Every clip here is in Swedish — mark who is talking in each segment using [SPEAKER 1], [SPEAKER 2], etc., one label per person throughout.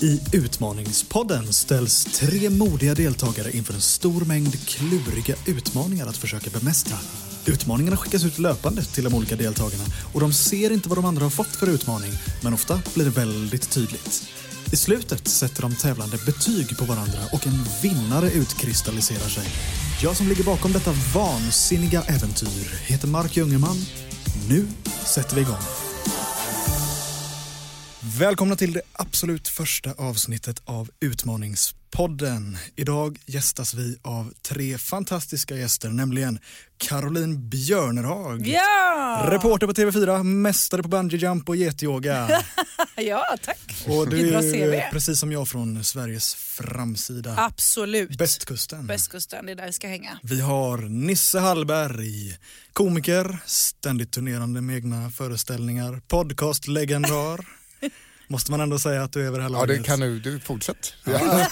[SPEAKER 1] I Utmaningspodden ställs tre modiga deltagare inför en stor mängd kluriga utmaningar att försöka bemästra. Utmaningarna skickas ut löpande till de olika deltagarna och de ser inte vad de andra har fått för utmaning, men ofta blir det väldigt tydligt. I slutet sätter de tävlande betyg på varandra och en vinnare utkristalliserar sig. Jag som ligger bakom detta vansinniga äventyr heter Mark Jungerman. Nu sätter vi igång. Välkomna till det absolut första avsnittet av Utmaningspodden. Idag gästas vi av tre fantastiska gäster, nämligen Caroline Björnerhag.
[SPEAKER 2] Ja!
[SPEAKER 1] Reporter på TV4, mästare på bungee jump och getyoga.
[SPEAKER 2] Ja, tack.
[SPEAKER 1] Och
[SPEAKER 2] Vilket
[SPEAKER 1] du
[SPEAKER 2] bra
[SPEAKER 1] är ju
[SPEAKER 2] CV.
[SPEAKER 1] precis som jag från Sveriges framsida,
[SPEAKER 2] Absolut.
[SPEAKER 1] Bästkusten.
[SPEAKER 2] Västkusten, det är där vi ska hänga.
[SPEAKER 1] Vi har Nisse Hallberg, komiker, ständigt turnerande med egna föreställningar, podcastlegendar. Måste man ändå säga att du är över det här
[SPEAKER 3] Ja,
[SPEAKER 1] laget.
[SPEAKER 3] det kan du. Du fortsätt. Ja.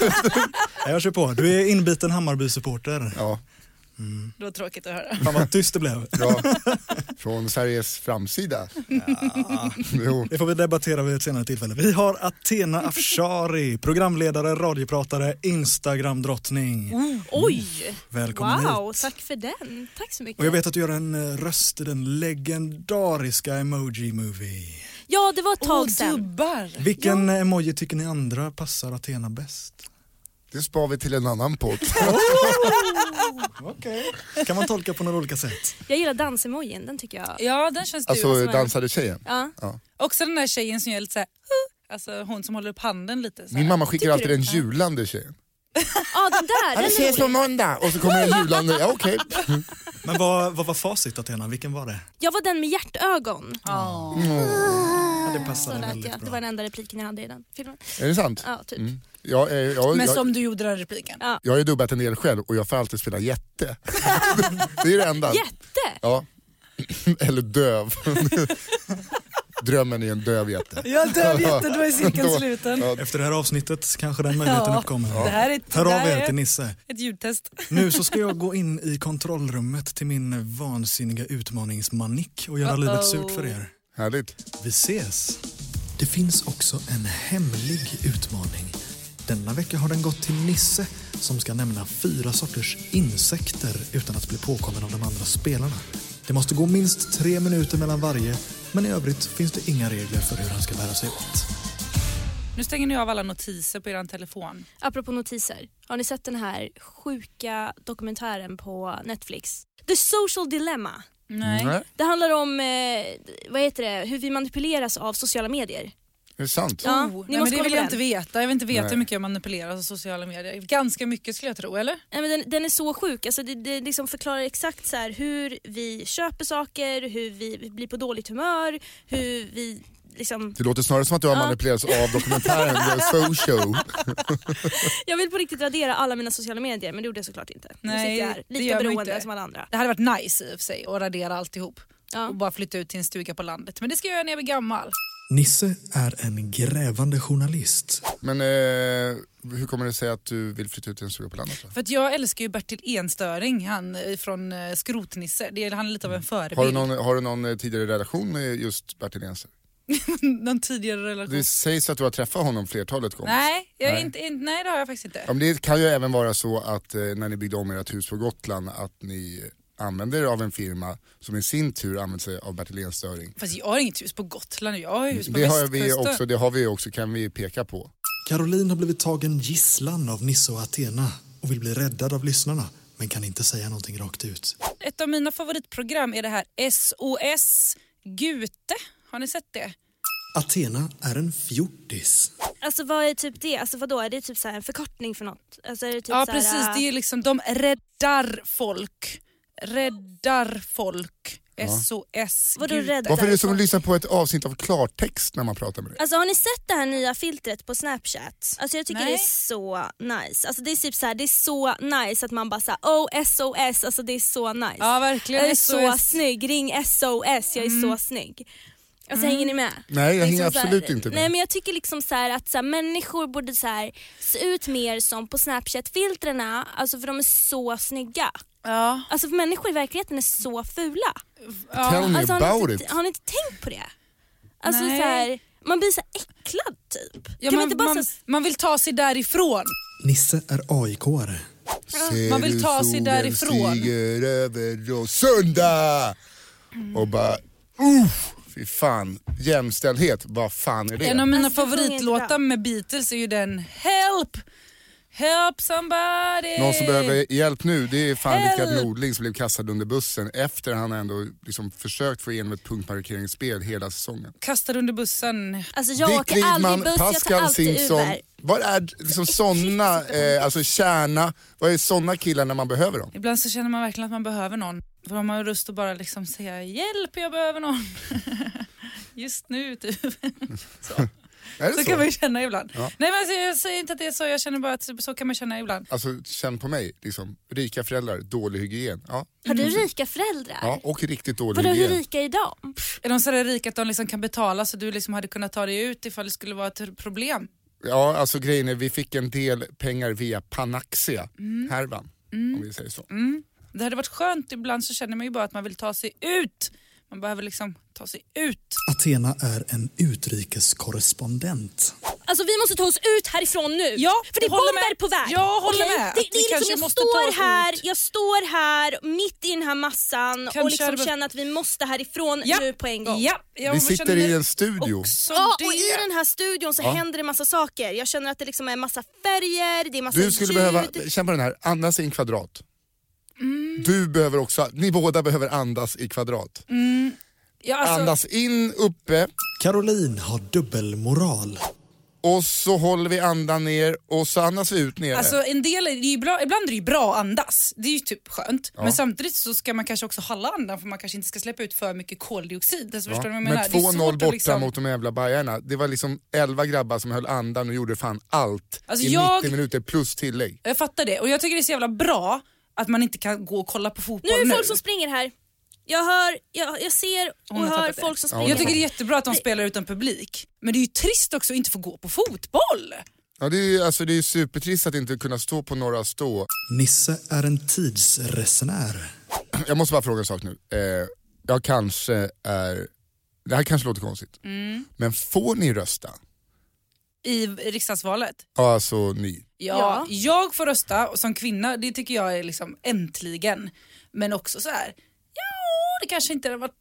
[SPEAKER 1] Ja, Jag kör på. Du är inbiten Hammarby-supporter.
[SPEAKER 3] Ja,
[SPEAKER 2] Det var tråkigt att höra.
[SPEAKER 1] Fan vad tyst det blev.
[SPEAKER 3] bra. Från Sveriges framsida. Jo,
[SPEAKER 1] Det får vi debattera vid ett senare tillfälle. Vi har Athena Afshari, programledare, radiopratare, Instagram-drottning.
[SPEAKER 4] Oj!
[SPEAKER 1] Mm. Välkommen
[SPEAKER 4] Mm. Wow,
[SPEAKER 1] hit.
[SPEAKER 4] tack för den. Tack så mycket.
[SPEAKER 1] Och jag vet att du gör en eh, röst i den legendariska Emoji Movie.
[SPEAKER 4] Ja, det var ett tag
[SPEAKER 2] Åh,
[SPEAKER 4] sedan.
[SPEAKER 2] dubbar.
[SPEAKER 1] Vilken emoji tycker ni andra passar Athena bäst?
[SPEAKER 3] det spar vi till en annan podd.
[SPEAKER 1] Okej. Kan man tolka på några olika sätt?
[SPEAKER 4] Jag gillar dansemojin, den tycker jag.
[SPEAKER 2] Ja, den känns du.
[SPEAKER 3] Alltså
[SPEAKER 2] som är-
[SPEAKER 3] dansade tjejen.
[SPEAKER 4] Ja.
[SPEAKER 2] Också den där tjejen som gör lite såhär, "Huh", alltså hon som håller upp handen lite. Så här.
[SPEAKER 3] Min mamma skickar
[SPEAKER 4] Tycker
[SPEAKER 3] alltid
[SPEAKER 4] du?
[SPEAKER 3] den julande tjejen.
[SPEAKER 4] Ja, den där. den
[SPEAKER 3] Ja, vi
[SPEAKER 4] är
[SPEAKER 3] ses på
[SPEAKER 4] rolig.
[SPEAKER 3] måndag! Och så kommer en julande, ja okej.
[SPEAKER 1] Men vad, vad var facit Athena? Vilken var det?
[SPEAKER 4] Jag var den med hjärtögon.
[SPEAKER 2] Ja.
[SPEAKER 1] Ja, det
[SPEAKER 4] Ah, Så
[SPEAKER 1] passade
[SPEAKER 4] lät
[SPEAKER 1] väldigt
[SPEAKER 4] jag. Det var
[SPEAKER 1] bra. Mm.
[SPEAKER 4] den enda repliken jag hade i den filmen.
[SPEAKER 3] Är det sant?
[SPEAKER 4] Ja, typ.
[SPEAKER 3] Jag, är- jag,
[SPEAKER 2] Men
[SPEAKER 3] jag,
[SPEAKER 2] som du gjorde den repliken.
[SPEAKER 4] Ja.
[SPEAKER 3] jag har ju dubbat en del själv och jag får alltid spela jätte. Det är det enda.
[SPEAKER 4] Jätte!
[SPEAKER 3] Ja. Eller döv. Drömmen är en döv jätte.
[SPEAKER 2] Jag dör jätte, då är cirkeln
[SPEAKER 3] Då-
[SPEAKER 2] sluten.
[SPEAKER 3] Ja.
[SPEAKER 1] Efter det här avsnittet kanske den möjligheten
[SPEAKER 2] Ja.
[SPEAKER 1] uppkommer.
[SPEAKER 2] Det här är ett,
[SPEAKER 1] Hör
[SPEAKER 2] det
[SPEAKER 1] av
[SPEAKER 2] här
[SPEAKER 1] er
[SPEAKER 2] är
[SPEAKER 1] till
[SPEAKER 2] ett,
[SPEAKER 1] Nisse.
[SPEAKER 2] ett ljudtest.
[SPEAKER 1] Nu så ska jag gå in i kontrollrummet till min vansinniga utmaningsmanik och göra
[SPEAKER 2] Uh-oh.
[SPEAKER 1] livet surt för er.
[SPEAKER 3] Härligt.
[SPEAKER 1] Vi ses! Det finns också en hemlig utmaning. Denna vecka har den gått till Nisse som ska nämna fyra sorters insekter utan att bli påkommen av de andra spelarna. Det måste gå minst tre minuter mellan varje, men i övrigt finns det inga regler för hur han ska bära sig åt.
[SPEAKER 2] Nu stänger ni av alla notiser på er telefon.
[SPEAKER 4] Apropå notiser. Har ni sett den här sjuka dokumentären på Netflix? The Social Dilemma.
[SPEAKER 2] Nej.
[SPEAKER 3] Nej,
[SPEAKER 4] Det handlar om eh, vad heter det? hur vi manipuleras av sociala medier.
[SPEAKER 3] är det sant?
[SPEAKER 4] Ja,
[SPEAKER 2] Oh,
[SPEAKER 4] ni
[SPEAKER 2] nej, men det
[SPEAKER 4] måste kolla
[SPEAKER 2] vill
[SPEAKER 4] på
[SPEAKER 2] jag
[SPEAKER 4] den.
[SPEAKER 2] inte veta. Jag vill inte veta
[SPEAKER 3] Nej.
[SPEAKER 2] hur mycket jag manipuleras av sociala medier. Ganska mycket skulle jag tro, eller?
[SPEAKER 4] Nej, men den, den är så sjuk. Alltså, det det liksom förklarar exakt så här, hur vi köper saker, hur vi blir på dåligt humör, hur vi liksom...
[SPEAKER 3] Det låter snarare som att du har manipulerats av dokumentären The Social.
[SPEAKER 4] Jag vill på riktigt radera alla mina sociala medier men det gjorde jag såklart inte.
[SPEAKER 2] Nej,
[SPEAKER 4] nu sitter jag här,
[SPEAKER 2] det gör
[SPEAKER 4] lika
[SPEAKER 2] man
[SPEAKER 4] beroende
[SPEAKER 2] inte.
[SPEAKER 4] som alla andra.
[SPEAKER 2] Det hade varit nice i och för sig att radera alltihop
[SPEAKER 4] Ja.
[SPEAKER 2] och bara flytta ut till en stuga på landet. Men det ska jag göra när jag blir gammal.
[SPEAKER 1] Nisse är en grävande journalist.
[SPEAKER 3] Men eh, hur kommer det sig att du vill flytta ut till en stuga på landet? Då?
[SPEAKER 2] För att jag älskar ju Bertil Enstöring, han eh, från eh, Skrotnisse. Det är, han är lite av en förebild.
[SPEAKER 3] Mm. Har du, någon, har du någon eh, tidigare relation med just Bertil Jensen?
[SPEAKER 2] Någon tidigare relation?
[SPEAKER 3] Det sägs att du har träffat honom flertalet gånger.
[SPEAKER 2] Nej, jag är
[SPEAKER 3] Nej.
[SPEAKER 2] Inte, inte, nej, det har jag faktiskt inte.
[SPEAKER 3] Ja, men det kan ju även vara så att eh, när ni byggde om ert hus på Gotland att ni använder er av en firma som i sin tur använder sig av Bertil Enstöring.
[SPEAKER 2] Fast jag har inget hus på Gotland, jag har hus på
[SPEAKER 3] Det har, vi
[SPEAKER 2] västkusten.
[SPEAKER 3] också, det har vi också, kan vi peka på.
[SPEAKER 1] Caroline har blivit tagen gisslan av Nisse och Athena och vill bli räddad av lyssnarna, men kan inte säga någonting rakt ut.
[SPEAKER 2] Ett av mina favoritprogram är det här SOS Gute. Har ni sett
[SPEAKER 4] Typ
[SPEAKER 2] det?
[SPEAKER 1] Athena är en fjortis.
[SPEAKER 4] Alltså vad är typ det? Alltså vadå? Är det typ så här en förkortning för något? Alltså, är det typ
[SPEAKER 2] Ja
[SPEAKER 4] så här,
[SPEAKER 2] precis, det är ju liksom de räddar folk. Räddar folk. SOS
[SPEAKER 4] Vadå
[SPEAKER 2] Gud.
[SPEAKER 4] rädda?
[SPEAKER 3] Varför är det som att lyssna på ett avsnitt av klartext när man pratar med dig?
[SPEAKER 4] Alltså har ni sett det här nya filtret på snapchat? Alltså jag tycker
[SPEAKER 2] Nej.
[SPEAKER 4] det är så nice. Alltså det är typ så här, det är så nice att man bara såhär oh SOS, alltså det är så nice.
[SPEAKER 2] Ja verkligen.
[SPEAKER 4] jag är så
[SPEAKER 2] SOS.
[SPEAKER 4] snygg, ring SOS, jag är
[SPEAKER 2] Mm.
[SPEAKER 4] så snygg. Alltså hänger ni med?
[SPEAKER 3] Nej jag
[SPEAKER 4] Liksom
[SPEAKER 3] hänger
[SPEAKER 4] så här-
[SPEAKER 3] absolut inte med.
[SPEAKER 4] Nej men jag tycker liksom så här att så här, människor borde så här, se ut mer som på snapchat-filtrena, alltså för de är så snygga.
[SPEAKER 2] Ja,
[SPEAKER 4] Alltså för människor i verkligheten är så fula.
[SPEAKER 3] Tell me
[SPEAKER 4] Alltså, har,
[SPEAKER 3] about
[SPEAKER 4] ni
[SPEAKER 3] it.
[SPEAKER 4] inte, har ni inte tänkt på det? Alltså
[SPEAKER 2] Nej.
[SPEAKER 4] så här, man blir så här äcklad typ.
[SPEAKER 2] ja
[SPEAKER 4] kan man
[SPEAKER 2] man,
[SPEAKER 4] inte bara
[SPEAKER 2] man,
[SPEAKER 4] så
[SPEAKER 2] man vill ta sig därifrån.
[SPEAKER 1] Nisse är AIK-are.
[SPEAKER 3] Ser
[SPEAKER 2] Man vill
[SPEAKER 3] du
[SPEAKER 2] ta sig
[SPEAKER 3] solen
[SPEAKER 2] därifrån.
[SPEAKER 3] stiger över Råsunda och bara uff, fy fan. Jämställdhet, vad fan är det?
[SPEAKER 2] En av mina
[SPEAKER 4] Alltså, det sjunger inte
[SPEAKER 2] favoritlåtar
[SPEAKER 4] bra.
[SPEAKER 2] med Beatles är ju den Help! Help somebody!
[SPEAKER 3] Någon som behöver hjälp nu det är fan Rickard
[SPEAKER 2] Help!
[SPEAKER 3] Nordling som blev kastad under bussen efter han ändå liksom försökt få igenom ett punktmarkeringsspel hela säsongen.
[SPEAKER 2] Kastad under bussen.
[SPEAKER 4] Alltså jag åker aldrig buss, jag tar alltid Uber.
[SPEAKER 3] Vad är liksom sådana, eh, alltså kärna, vad är sådana killar när man behöver dem?
[SPEAKER 2] Ibland så känner man verkligen att man behöver någon. För man har lust att bara liksom säga hjälp, jag behöver någon. Just nu typ.
[SPEAKER 3] Är det
[SPEAKER 2] Så
[SPEAKER 3] så?
[SPEAKER 2] kan man ju känna ibland.
[SPEAKER 3] Ja.
[SPEAKER 2] Nej men alltså, jag säger inte att det är så, jag känner bara att så kan man känna ibland.
[SPEAKER 3] Alltså känn på mig, liksom, rika föräldrar, dålig hygien. Ja,
[SPEAKER 4] Har
[SPEAKER 2] Mm.
[SPEAKER 4] du rika föräldrar?
[SPEAKER 3] ja och riktigt dålig
[SPEAKER 4] Vadå hur
[SPEAKER 3] hygien.
[SPEAKER 4] rika är de?
[SPEAKER 2] Är de sådär rika att de liksom kan betala så du liksom hade kunnat ta dig ut ifall det skulle vara ett problem?
[SPEAKER 3] Ja, alltså grejen är vi fick en del pengar via
[SPEAKER 2] Mm.
[SPEAKER 3] Panaxia-härvan. Om vi säger så.
[SPEAKER 2] Det hade varit skönt, ibland så känner man ju bara att man vill ta sig ut. Man behöver liksom ta sig ut.
[SPEAKER 1] Athena är en utrikeskorrespondent.
[SPEAKER 4] Alltså vi måste ta oss ut härifrån nu.
[SPEAKER 2] Ja,
[SPEAKER 4] för det är
[SPEAKER 2] håller
[SPEAKER 4] bomber
[SPEAKER 2] med.
[SPEAKER 4] på väg.
[SPEAKER 2] Jag håller
[SPEAKER 4] Okej?
[SPEAKER 2] med.
[SPEAKER 4] Det,
[SPEAKER 2] Vi
[SPEAKER 4] det är
[SPEAKER 2] kanske
[SPEAKER 4] liksom, jag
[SPEAKER 2] måste ta
[SPEAKER 4] står
[SPEAKER 2] oss
[SPEAKER 4] här,
[SPEAKER 2] ut.
[SPEAKER 4] jag står här mitt i den här massan
[SPEAKER 2] Kanske
[SPEAKER 4] och liksom
[SPEAKER 2] hade-
[SPEAKER 4] känner att vi måste härifrån nu på en gång.
[SPEAKER 2] Ja, jag
[SPEAKER 3] Vi sitter
[SPEAKER 2] känner
[SPEAKER 3] i en studio.
[SPEAKER 2] också
[SPEAKER 4] Ja,
[SPEAKER 2] det.
[SPEAKER 4] och i den här studion så händer det massa saker. Jag känner att det liksom är massa färger, det är massa
[SPEAKER 3] Du skulle
[SPEAKER 4] ljud.
[SPEAKER 3] behöva, känn på den här, andas i en kvadrat.
[SPEAKER 2] Mm.
[SPEAKER 3] Du behöver också, ni båda behöver andas i kvadrat.
[SPEAKER 2] ja, alltså,
[SPEAKER 3] Andas in uppe
[SPEAKER 1] Caroline har dubbelmoral.
[SPEAKER 3] och så håller vi andan ner och så andas vi ut nere.
[SPEAKER 2] Alltså en del, är det är ju bra, ibland är det ju bra att andas, det är ju typ skönt. Men samtidigt så ska man kanske också hålla andan för man kanske inte ska släppa ut för mycket koldioxid. Alltså,
[SPEAKER 3] Ja.
[SPEAKER 2] Förstår du vad jag
[SPEAKER 3] Men
[SPEAKER 2] menar? Det är
[SPEAKER 3] 2-0
[SPEAKER 2] svårt att liksom-
[SPEAKER 3] borta mot de jävla Bajarna. Det var liksom 11 grabbar som höll andan och gjorde fan allt
[SPEAKER 2] Alltså,
[SPEAKER 3] i
[SPEAKER 2] jag-
[SPEAKER 3] 90 minuter plus tillägg.
[SPEAKER 2] Jag fattar det och jag tycker det är så jävla bra att man inte kan gå och kolla på fotboll
[SPEAKER 4] Nu
[SPEAKER 2] nu.
[SPEAKER 4] är det folk som springer här. Jag hör, jag, jag ser och
[SPEAKER 2] Hon har
[SPEAKER 4] hör
[SPEAKER 2] tappat det.
[SPEAKER 4] folk som
[SPEAKER 3] Ja, hon
[SPEAKER 4] springer.
[SPEAKER 3] har
[SPEAKER 2] jag tycker det är jättebra att de spelar utan publik. Men det är ju trist också att inte få gå på fotboll.
[SPEAKER 3] Ja, det är ju alltså, det är ju supertrist att inte kunna stå på några stå.
[SPEAKER 1] Nisse är en tidsresenär.
[SPEAKER 3] Jag måste bara fråga en sak nu. Eh, jag kanske är, det här kanske låter konstigt,
[SPEAKER 4] Mm.
[SPEAKER 3] men får ni rösta?
[SPEAKER 2] I riksdagsvalet.
[SPEAKER 3] Ja, alltså ni.
[SPEAKER 2] Ja,
[SPEAKER 4] Ja.
[SPEAKER 2] jag får rösta och som kvinna, det tycker jag är liksom äntligen. Men också så här, ja det kanske inte har varit...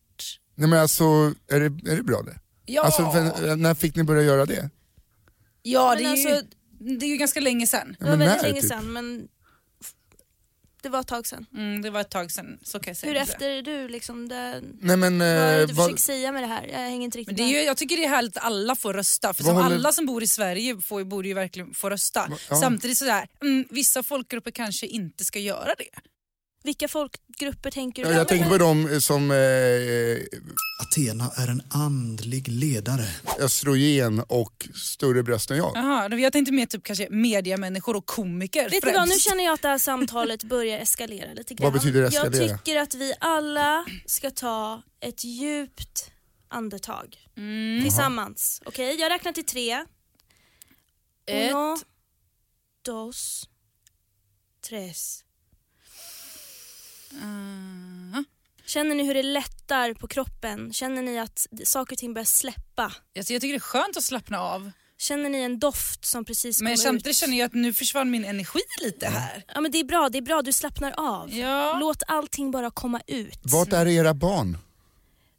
[SPEAKER 3] Nej men alltså, är det, är det bra det?
[SPEAKER 2] Ja,
[SPEAKER 3] Alltså, för, när fick ni börja göra det?
[SPEAKER 2] ja
[SPEAKER 4] Men
[SPEAKER 2] det, är ju,
[SPEAKER 4] alltså-
[SPEAKER 2] det är ju ganska länge sedan.
[SPEAKER 4] Det var
[SPEAKER 3] Men
[SPEAKER 4] väldigt
[SPEAKER 3] när,
[SPEAKER 4] länge
[SPEAKER 3] typ?
[SPEAKER 4] sedan men det var ett tag sedan.
[SPEAKER 2] Mm, det var ett tag sedan, så kan jag säga.
[SPEAKER 4] Hur
[SPEAKER 2] det.
[SPEAKER 4] efter är du liksom? Det,
[SPEAKER 3] Nej men,
[SPEAKER 4] vad är det
[SPEAKER 3] eh,
[SPEAKER 4] du
[SPEAKER 3] vad,
[SPEAKER 4] försöker säga med det här? Jag hänger inte riktigt
[SPEAKER 2] Men det är ju, jag tycker det är härligt att alla får rösta, för
[SPEAKER 3] Vad
[SPEAKER 2] som
[SPEAKER 3] håller-
[SPEAKER 2] alla som bor i Sverige får, ju- borde ju verkligen få rösta.
[SPEAKER 3] ja.
[SPEAKER 2] Samtidigt så här, mm, vissa folkgrupper kanske inte ska göra det.
[SPEAKER 4] Vilka folkgrupper tänker du
[SPEAKER 3] jag, jag tänker på dem eh, som eh,
[SPEAKER 1] Athena är en andlig ledare.
[SPEAKER 3] östrogen och större bröst än jag.
[SPEAKER 2] Jaha, jag tänkte mer typ kanske mediamänniskor och komiker
[SPEAKER 4] Vet du
[SPEAKER 2] främst.
[SPEAKER 4] vad, nu känner jag att det här samtalet börjar eskalera lite grann.
[SPEAKER 3] Vad betyder eskalera?
[SPEAKER 4] Jag tycker att vi alla ska ta ett djupt andetag Mm. tillsammans. Okej, jag räknar till tre.
[SPEAKER 2] Eh,
[SPEAKER 4] Uno, dos, tres. Ah. Känner ni hur det lättar på kroppen? Känner ni att saker och ting börjar släppa?
[SPEAKER 2] Alltså, jag tycker det är skönt att slappna av.
[SPEAKER 4] Känner ni en doft som precis
[SPEAKER 2] Men
[SPEAKER 4] kommer ut? Mm.
[SPEAKER 2] samtidigt känner jag att nu försvann min energi lite här.
[SPEAKER 4] Ja men det är bra, det är bra, du slappnar av.
[SPEAKER 2] Ja.
[SPEAKER 4] Låt allting bara komma ut.
[SPEAKER 3] Vart är era
[SPEAKER 4] Mm.
[SPEAKER 3] barn?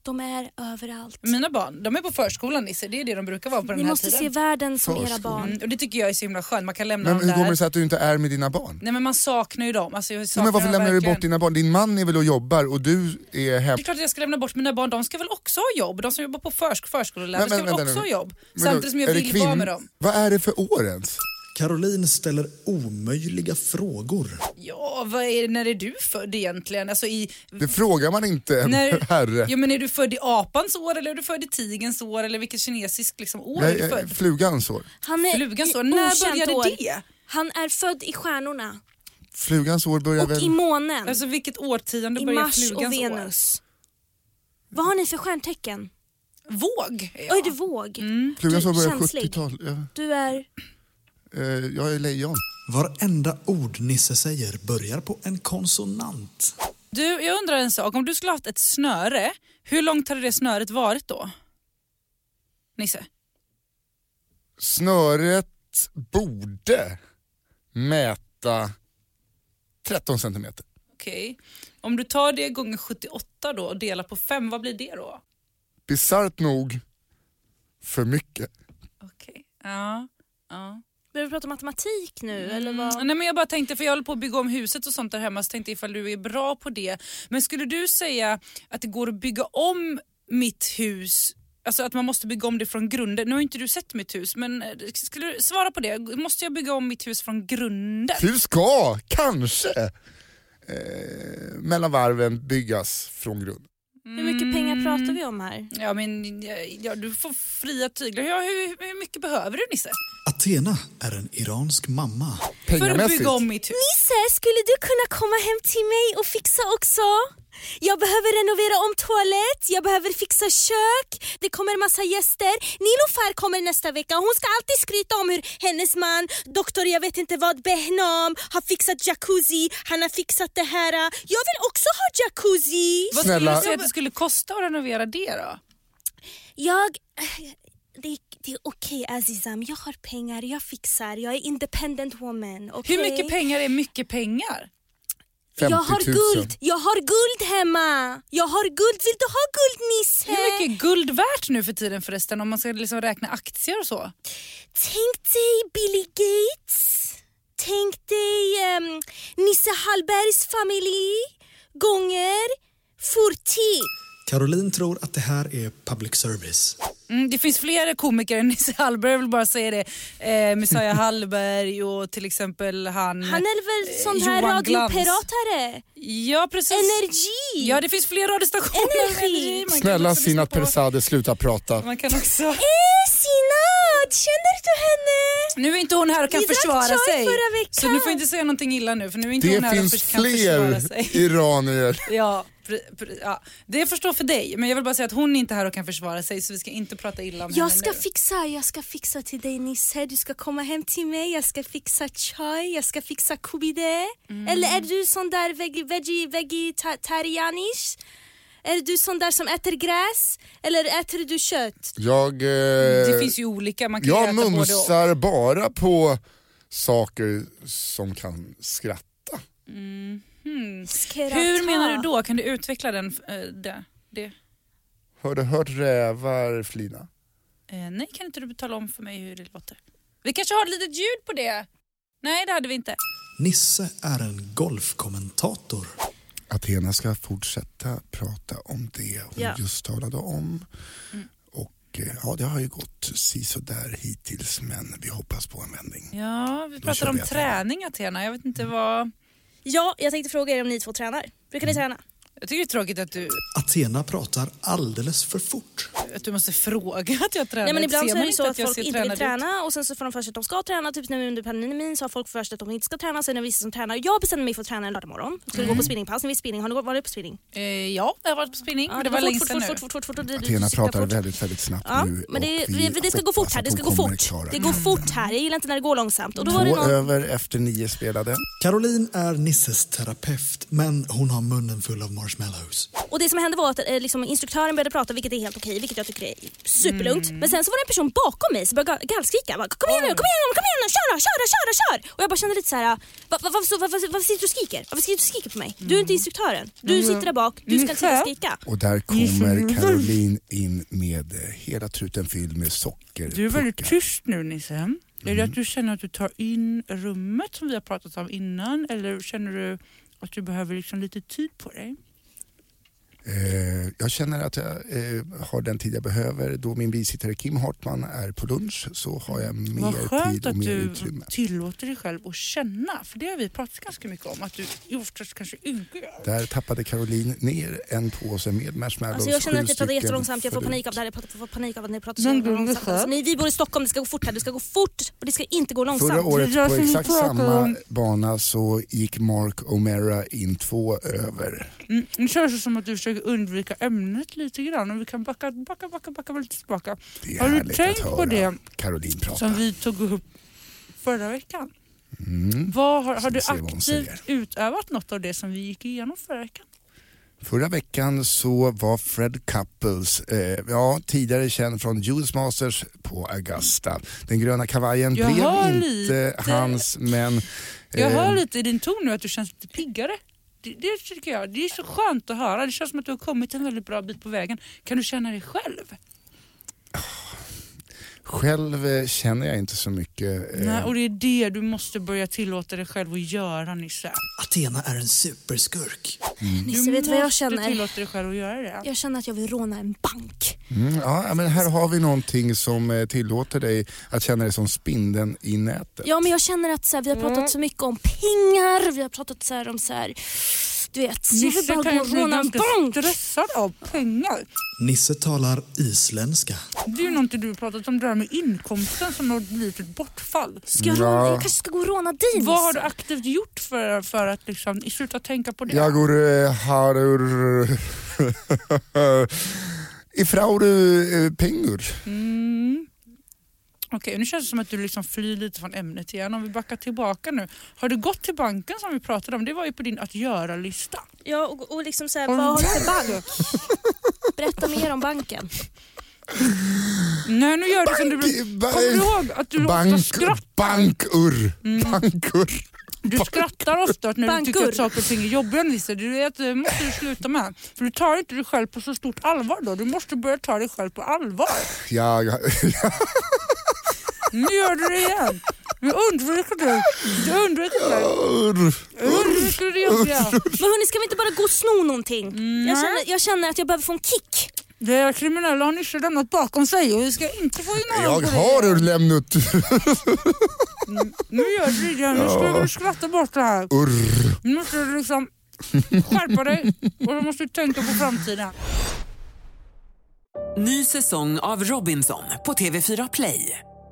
[SPEAKER 4] De är överallt.
[SPEAKER 2] Mina barn, de är på förskolan Nisse, det är det de brukar vara på den
[SPEAKER 4] Ni
[SPEAKER 2] här
[SPEAKER 4] måste
[SPEAKER 2] tiden.
[SPEAKER 4] se världen som era
[SPEAKER 3] Förskolan.
[SPEAKER 4] barn.
[SPEAKER 2] Mm, och det tycker jag är så himla skönt, man kan lämna
[SPEAKER 3] Men
[SPEAKER 2] dem
[SPEAKER 3] hur kommer
[SPEAKER 2] där.
[SPEAKER 3] det sig att du inte är med dina barn?
[SPEAKER 2] Nej men man saknar ju dem. Alltså, jag
[SPEAKER 3] Nej,
[SPEAKER 2] saknar
[SPEAKER 3] men varför
[SPEAKER 2] dem
[SPEAKER 3] lämnar du
[SPEAKER 2] verkligen.
[SPEAKER 3] bort dina barn? Din man är väl och jobbar och du är
[SPEAKER 2] Det är
[SPEAKER 3] hemma.
[SPEAKER 2] klart att jag ska lämna bort mina barn, de ska väl också ha jobb? De som jobbar på försk- förskolelärare
[SPEAKER 3] Men-
[SPEAKER 2] ska
[SPEAKER 3] men-
[SPEAKER 2] väl
[SPEAKER 3] vänta
[SPEAKER 2] också ha
[SPEAKER 3] nu.
[SPEAKER 2] jobb?
[SPEAKER 3] Men då,
[SPEAKER 2] Samtidigt som jag
[SPEAKER 3] är det
[SPEAKER 2] vill
[SPEAKER 3] kvinn-
[SPEAKER 2] vara med dem.
[SPEAKER 3] Vad är det för år ens?
[SPEAKER 1] Caroline ställer omöjliga frågor.
[SPEAKER 2] Ja, vad är det, när är du född egentligen? Alltså i,
[SPEAKER 3] Det frågar man inte en
[SPEAKER 2] när,
[SPEAKER 3] herre.
[SPEAKER 2] Ja, men är du född i apans år eller är du född i tigens år eller vilket kinesiskt liksom, år
[SPEAKER 3] Nej,
[SPEAKER 2] är du
[SPEAKER 3] eh,
[SPEAKER 2] född?
[SPEAKER 3] flugans år.
[SPEAKER 4] Han är
[SPEAKER 2] Flugan
[SPEAKER 4] i
[SPEAKER 2] så, när
[SPEAKER 4] okänt
[SPEAKER 2] började
[SPEAKER 4] år.
[SPEAKER 2] det?
[SPEAKER 4] Han är född i stjärnorna
[SPEAKER 3] Flugans år börjar
[SPEAKER 4] och
[SPEAKER 3] väl...
[SPEAKER 4] i månen,
[SPEAKER 2] Alltså vilket årtionde
[SPEAKER 4] i
[SPEAKER 2] börjar
[SPEAKER 4] Mars och
[SPEAKER 2] flugans
[SPEAKER 4] Venus. Vad har ni för stjärntecken?
[SPEAKER 2] år? Våg? är
[SPEAKER 4] Oj,
[SPEAKER 2] jag.
[SPEAKER 4] du våg.
[SPEAKER 2] Mm.
[SPEAKER 3] Flugans
[SPEAKER 4] Du-
[SPEAKER 3] år börjar
[SPEAKER 4] känslig.
[SPEAKER 3] 70-tal. Ja.
[SPEAKER 4] Du är...
[SPEAKER 3] Eh, jag är lejon.
[SPEAKER 1] Varenda ord Nisse säger börjar på en konsonant.
[SPEAKER 2] Du, jag undrar en sak. Om du skulle haft ett snöre, hur långt hade det snöret varit då? Nisse?
[SPEAKER 3] Snöret borde mäta 13 centimeter.
[SPEAKER 2] Okej. Om du tar det gånger 78 då och delar på 5, vad blir det då?
[SPEAKER 3] Bisarrt nog för mycket.
[SPEAKER 2] Okej. Ja. ja.
[SPEAKER 4] Börjar vi prata matematik nu eller vad?
[SPEAKER 2] Mm. Nej, men jag bara tänkte, för jag håller på att bygga om huset och sånt där hemma, så tänkte jag ifall du är bra på det. Men skulle du säga att det går att bygga om mitt hus Alltså att man måste bygga om det från grunden. Nu har ju inte du sett mitt hus men eh, skulle du svara på det? Måste jag bygga om mitt hus från grunden?
[SPEAKER 3] Du ska kanske eh, mellan varven byggas från grund.
[SPEAKER 2] Mm.
[SPEAKER 4] Hur mycket pengar pratar vi om här?
[SPEAKER 2] Ja, men ja, du får fria tyglar. Ja, hur, hur mycket behöver du Nisse?
[SPEAKER 1] Athena är en iransk mamma.
[SPEAKER 2] För att
[SPEAKER 3] Pengamässigt.
[SPEAKER 2] bygga om mitt hus.
[SPEAKER 4] Nisse, skulle du kunna komma hem till mig och fixa också? Jag behöver renovera om toalett, jag behöver fixa kök, det kommer en massa gäster. Nilofar kommer nästa vecka och hon ska alltid skryta om hur hennes man, doktor jag vet inte vad, Behnam, har fixat jacuzzi, han har fixat det här. Jag vill också ha jacuzzi.
[SPEAKER 2] Vad skulle
[SPEAKER 3] Snälla.
[SPEAKER 2] du säga att det skulle kosta att renovera det då?
[SPEAKER 4] Jag... eh, Det, det är okej Azizam, jag har pengar, jag fixar, jag är independent woman.
[SPEAKER 2] Hur
[SPEAKER 4] okej?
[SPEAKER 2] mycket pengar är mycket pengar?
[SPEAKER 3] 50
[SPEAKER 4] Jag
[SPEAKER 3] 000.
[SPEAKER 4] har guld! Jag har guld hemma! Jag har guld! Vill du ha guld Nisse?
[SPEAKER 2] Hur mycket är guld värt nu för tiden förresten om man ska liksom räkna aktier och så?
[SPEAKER 4] Tänk dig Billy Gates. Tänk dig ehm, Nisse Hallbergs familj gånger 40.
[SPEAKER 1] Caroline tror att det här är public service.
[SPEAKER 2] Mm, det finns fler komiker än Nisse Hallberg, jag vill bara säga det. Eh, Messiah Hallberg och till exempel han...
[SPEAKER 4] Han är väl sån
[SPEAKER 2] Eh,
[SPEAKER 4] här
[SPEAKER 2] Johan Glans.
[SPEAKER 4] radiopiratare?
[SPEAKER 2] Ja precis.
[SPEAKER 4] Energi!
[SPEAKER 2] Ja det finns fler radiostationer. än
[SPEAKER 4] Energi.
[SPEAKER 2] Man kan
[SPEAKER 3] Snälla
[SPEAKER 2] också lyssna
[SPEAKER 3] Sinat
[SPEAKER 2] på-
[SPEAKER 3] Persade, sluta prata.
[SPEAKER 2] Man kan också...
[SPEAKER 4] Eh, Sinad! Känner du henne?
[SPEAKER 2] Nu är inte hon här och kan
[SPEAKER 4] Vi drack
[SPEAKER 2] försvara
[SPEAKER 4] chai
[SPEAKER 2] sig.
[SPEAKER 4] förra veckan.
[SPEAKER 2] Så nu får inte säga någonting illa nu för nu är inte hon
[SPEAKER 3] Det
[SPEAKER 2] här och
[SPEAKER 3] finns
[SPEAKER 2] för, kan försvara
[SPEAKER 3] fler
[SPEAKER 2] sig.
[SPEAKER 3] iranier.
[SPEAKER 2] Ja, pr- pr- ja, det förstår för dig men jag vill bara säga att hon är inte här och kan försvara sig så vi ska inte prata illa om
[SPEAKER 4] Jag
[SPEAKER 2] henne
[SPEAKER 4] ska
[SPEAKER 2] nu.
[SPEAKER 4] fixa, jag ska fixa till dig Nisse. Du ska komma hem till mig, jag ska fixa chai, jag ska fixa kubide.
[SPEAKER 2] Mm.
[SPEAKER 4] Eller är du sån där veg- veggie, vegetarianish? Är du sån där som äter gräs? Eller äter du kött?
[SPEAKER 3] Jag, eh,
[SPEAKER 2] Det finns ju olika, man kan ju
[SPEAKER 3] jag
[SPEAKER 2] äta både och.
[SPEAKER 3] mumsar bara på saker som kan skratta.
[SPEAKER 4] Skrata.
[SPEAKER 2] Hmm. Hur menar du då? Kan du utveckla den? eh, det? det?
[SPEAKER 3] Har du hört rävar flina?
[SPEAKER 2] Eh, nej, kan inte du tala om för mig hur det låter? Vi kanske har ett litet ljud på det? Nej, det hade vi inte.
[SPEAKER 1] Nisse är en golfkommentator.
[SPEAKER 3] Athena ska fortsätta prata om det hon
[SPEAKER 4] Ja. Mm.
[SPEAKER 3] just talade om. Och eh, ja, det har ju gått sisådär hittills men vi hoppas på en vändning.
[SPEAKER 2] Ja, vi
[SPEAKER 3] kör
[SPEAKER 2] pratade om
[SPEAKER 3] vi, Athena.
[SPEAKER 2] träning Athena. Jag vet inte vad...
[SPEAKER 4] Ja, jag tänkte fråga er om ni två tränar. Brukar ni träna?
[SPEAKER 2] Jag tycker det är tråkigt att du,
[SPEAKER 1] Athena pratar alldeles för fort.
[SPEAKER 2] att du måste fråga att jag tränar.
[SPEAKER 4] Nej men
[SPEAKER 2] Ser
[SPEAKER 4] ibland så
[SPEAKER 2] man
[SPEAKER 4] är det så att
[SPEAKER 2] jag
[SPEAKER 4] folk
[SPEAKER 2] ser
[SPEAKER 4] inte vill
[SPEAKER 2] tränad ut?
[SPEAKER 4] träna och sen så får de för sig att de ska träna. Typ nu under pandemin så har folk för sig att de inte ska träna. Sen är det vissa som tränar. Jag bestämde mig för att träna en lördag morgon. Skulle
[SPEAKER 2] Mm.
[SPEAKER 4] gå på spinningpass. Ni vet spinning, har ni varit på spinning?
[SPEAKER 2] Eh, ja, jag har varit på spinning. men det, var
[SPEAKER 4] fort,
[SPEAKER 2] länge
[SPEAKER 4] fort,
[SPEAKER 2] sedan nu.
[SPEAKER 4] fort, fort, fort, fort, fort, fort,
[SPEAKER 3] Athena
[SPEAKER 4] du cyklar
[SPEAKER 3] pratar
[SPEAKER 4] fort.
[SPEAKER 3] väldigt, väldigt snabbt
[SPEAKER 4] Ja,
[SPEAKER 3] nu.
[SPEAKER 4] men det,
[SPEAKER 3] och
[SPEAKER 4] vi, det ska gå fort
[SPEAKER 3] hoppas
[SPEAKER 4] här, det
[SPEAKER 3] att
[SPEAKER 4] ska gå
[SPEAKER 3] hon kommer
[SPEAKER 4] fort.
[SPEAKER 3] klara
[SPEAKER 4] Det går fort här, jag gillar inte när det går långsamt. Och då var det
[SPEAKER 3] Två
[SPEAKER 4] någon,
[SPEAKER 3] över efter nio spelade.
[SPEAKER 1] Caroline är Nisses terapeut, men hon har munnen full av marshmallows.
[SPEAKER 4] och det som hände var att eh, liksom, instruktören började prata, vilket är helt okej, vilket jag tycker är superlugnt. Men sen så var det en person bakom mig som började ga- gallskrika. Bara, kom igen nu, kom igen nu, kom igen nu, kör då, kör då, kör då, kör! Och jag bara kände lite så här, va, va, varför, så- varför, varför sitter du och skriker? Varför sitter du och skriker på mig? Du är inte instruktören, du sitter där bak, du ska inte sitta och skrika.
[SPEAKER 3] Och där kommer Caroline in med eh, hela truten fylld med socker.
[SPEAKER 2] Du är väldigt tyst nu Nisse. Är
[SPEAKER 3] Mm.
[SPEAKER 2] det att du känner att du tar in rummet som vi har pratat om innan eller känner du att du behöver liksom lite tid på dig?
[SPEAKER 3] Eh, jag känner att jag eh, har den tid jag behöver. Då min bisittare Kim Hartman är på lunch så har jag
[SPEAKER 2] Vad
[SPEAKER 3] mer
[SPEAKER 2] skönt
[SPEAKER 3] tid och
[SPEAKER 2] att
[SPEAKER 3] mer
[SPEAKER 2] du
[SPEAKER 3] utrymme.
[SPEAKER 2] tillåter dig själv att känna. För det har vi pratat ganska mycket om. Att du oftast kanske inte gör.
[SPEAKER 3] Där tappade Caroline ner en påse med marshmallows.
[SPEAKER 4] Alltså jag känner att
[SPEAKER 3] sju
[SPEAKER 4] ni pratar
[SPEAKER 3] stycken
[SPEAKER 4] jättelångsamt, jag får
[SPEAKER 3] förut.
[SPEAKER 4] panik av det här. Jag pratar- får panik av att ni pratar så
[SPEAKER 2] Men
[SPEAKER 4] jävla
[SPEAKER 2] du,
[SPEAKER 4] långsamt.
[SPEAKER 2] Lisa?
[SPEAKER 4] Alltså, ni, vi bor i Stockholm, det ska gå fort här. Det ska gå fort och det ska inte gå långsamt.
[SPEAKER 3] Förra året
[SPEAKER 2] Jag
[SPEAKER 3] på
[SPEAKER 2] ska
[SPEAKER 3] exakt
[SPEAKER 2] prata
[SPEAKER 3] samma
[SPEAKER 2] om-
[SPEAKER 3] bana så gick Mark O'Mara in två över.
[SPEAKER 2] Mm, det känns som att du försöker undvika ämnet lite grann. Och vi kan backa, backa, backa, backa väldigt tillbaka.
[SPEAKER 3] Det är
[SPEAKER 2] Har du
[SPEAKER 3] härligt
[SPEAKER 2] tänkt
[SPEAKER 3] att höra
[SPEAKER 2] på det
[SPEAKER 3] Caroline prata.
[SPEAKER 2] som vi tog upp förra veckan? Vad har, har
[SPEAKER 3] Mm. Ska
[SPEAKER 2] du
[SPEAKER 3] vi se vad hon
[SPEAKER 2] aktivt
[SPEAKER 3] säger.
[SPEAKER 2] utövat något av det som vi gick igenom förra veckan?
[SPEAKER 3] Förra veckan så var Fred Couples, eh, ja, tidigare känd från US Masters på Augusta. Den gröna kavajen
[SPEAKER 2] Jag hör
[SPEAKER 3] blev inte
[SPEAKER 2] lite-
[SPEAKER 3] hans men...
[SPEAKER 2] Jag
[SPEAKER 3] eh,
[SPEAKER 2] hör lite i din ton nu att du känns lite piggare. Det, det tycker jag. Det är så skönt att höra. Det känns som att du har kommit en väldigt bra bit på vägen. Kan du känna dig själv?
[SPEAKER 3] Själv eh, känner jag inte så mycket. eh,
[SPEAKER 2] Nej, och det är det du måste börja tillåta dig själv att göra Nisse.
[SPEAKER 1] Athena är en superskurk.
[SPEAKER 4] Nisse,
[SPEAKER 2] Du
[SPEAKER 4] vet du vad jag
[SPEAKER 2] måste
[SPEAKER 4] känner?
[SPEAKER 2] tillåta dig själv att göra det.
[SPEAKER 4] Jag känner att jag vill råna en bank.
[SPEAKER 3] Mm, ja, men här har vi någonting som eh, tillåter dig att känna dig som spindeln i nätet.
[SPEAKER 4] Ja men jag känner att så här, vi har
[SPEAKER 2] Mm.
[SPEAKER 4] pratat så mycket om pengar, vi har pratat så här, om så här, du vet, jag vill
[SPEAKER 2] Nisse
[SPEAKER 4] bara
[SPEAKER 2] kan
[SPEAKER 4] gå
[SPEAKER 2] ju
[SPEAKER 4] och
[SPEAKER 2] bli
[SPEAKER 4] råna en
[SPEAKER 2] ganska
[SPEAKER 4] bank.
[SPEAKER 2] stressad av pengar.
[SPEAKER 1] Nisse talar isländska.
[SPEAKER 2] Det är ju någonting du har pratat om, det här med inkomsten som har blivit ett bortfall.
[SPEAKER 4] Ska jag, råna, jag kanske ska gå och råna dig Nisse?
[SPEAKER 2] Vad har du aktivt gjort för, för att liksom, sluta tänka på det?
[SPEAKER 3] Jag går eh, harur... Ifrauru eh, pengur.
[SPEAKER 2] Okej, nu känns det som att du liksom flyr lite från ämnet igen. Om vi backar tillbaka nu. Har du gått till banken som vi pratade om? Det var ju på din att göra-lista.
[SPEAKER 4] Ja och, och liksom så här,
[SPEAKER 2] Har
[SPEAKER 4] vad
[SPEAKER 2] du-
[SPEAKER 4] har du för bank? Berätta mer om banken.
[SPEAKER 2] Nej, nu gör du Mm, som du...
[SPEAKER 3] ba-
[SPEAKER 2] Kommer du ihåg att du ofta
[SPEAKER 3] Bank,
[SPEAKER 2] skrattar?
[SPEAKER 3] bankur.
[SPEAKER 2] Mm.
[SPEAKER 3] Bankur.
[SPEAKER 2] Du skrattar ofta när du tycker
[SPEAKER 4] Bankur.
[SPEAKER 2] att saker och ting är jobbiga Nisse. Du vet, det måste du sluta med. För du tar inte dig själv på så stort allvar då. Du måste börja ta dig själv på allvar.
[SPEAKER 3] Jag,
[SPEAKER 2] Nu gör du det igen. Nu undviker du. Du undviker det. Undviker det jobbiga.
[SPEAKER 4] Men hörni, ska vi inte bara gå och sno någonting? Jag, känner, jag känner att jag behöver få en kick.
[SPEAKER 2] Det kriminella har Nisse lämnat bakom sig och vi ska inte få in
[SPEAKER 3] jag
[SPEAKER 2] någon på det.
[SPEAKER 3] har lämnat
[SPEAKER 2] Nu gör du det igen. Nu ska du skratta bort det här.
[SPEAKER 3] urr.
[SPEAKER 2] Nu måste du liksom skärpa dig och du måste tänka på framtiden.
[SPEAKER 5] Ny säsong av Robinson på TV4 Play.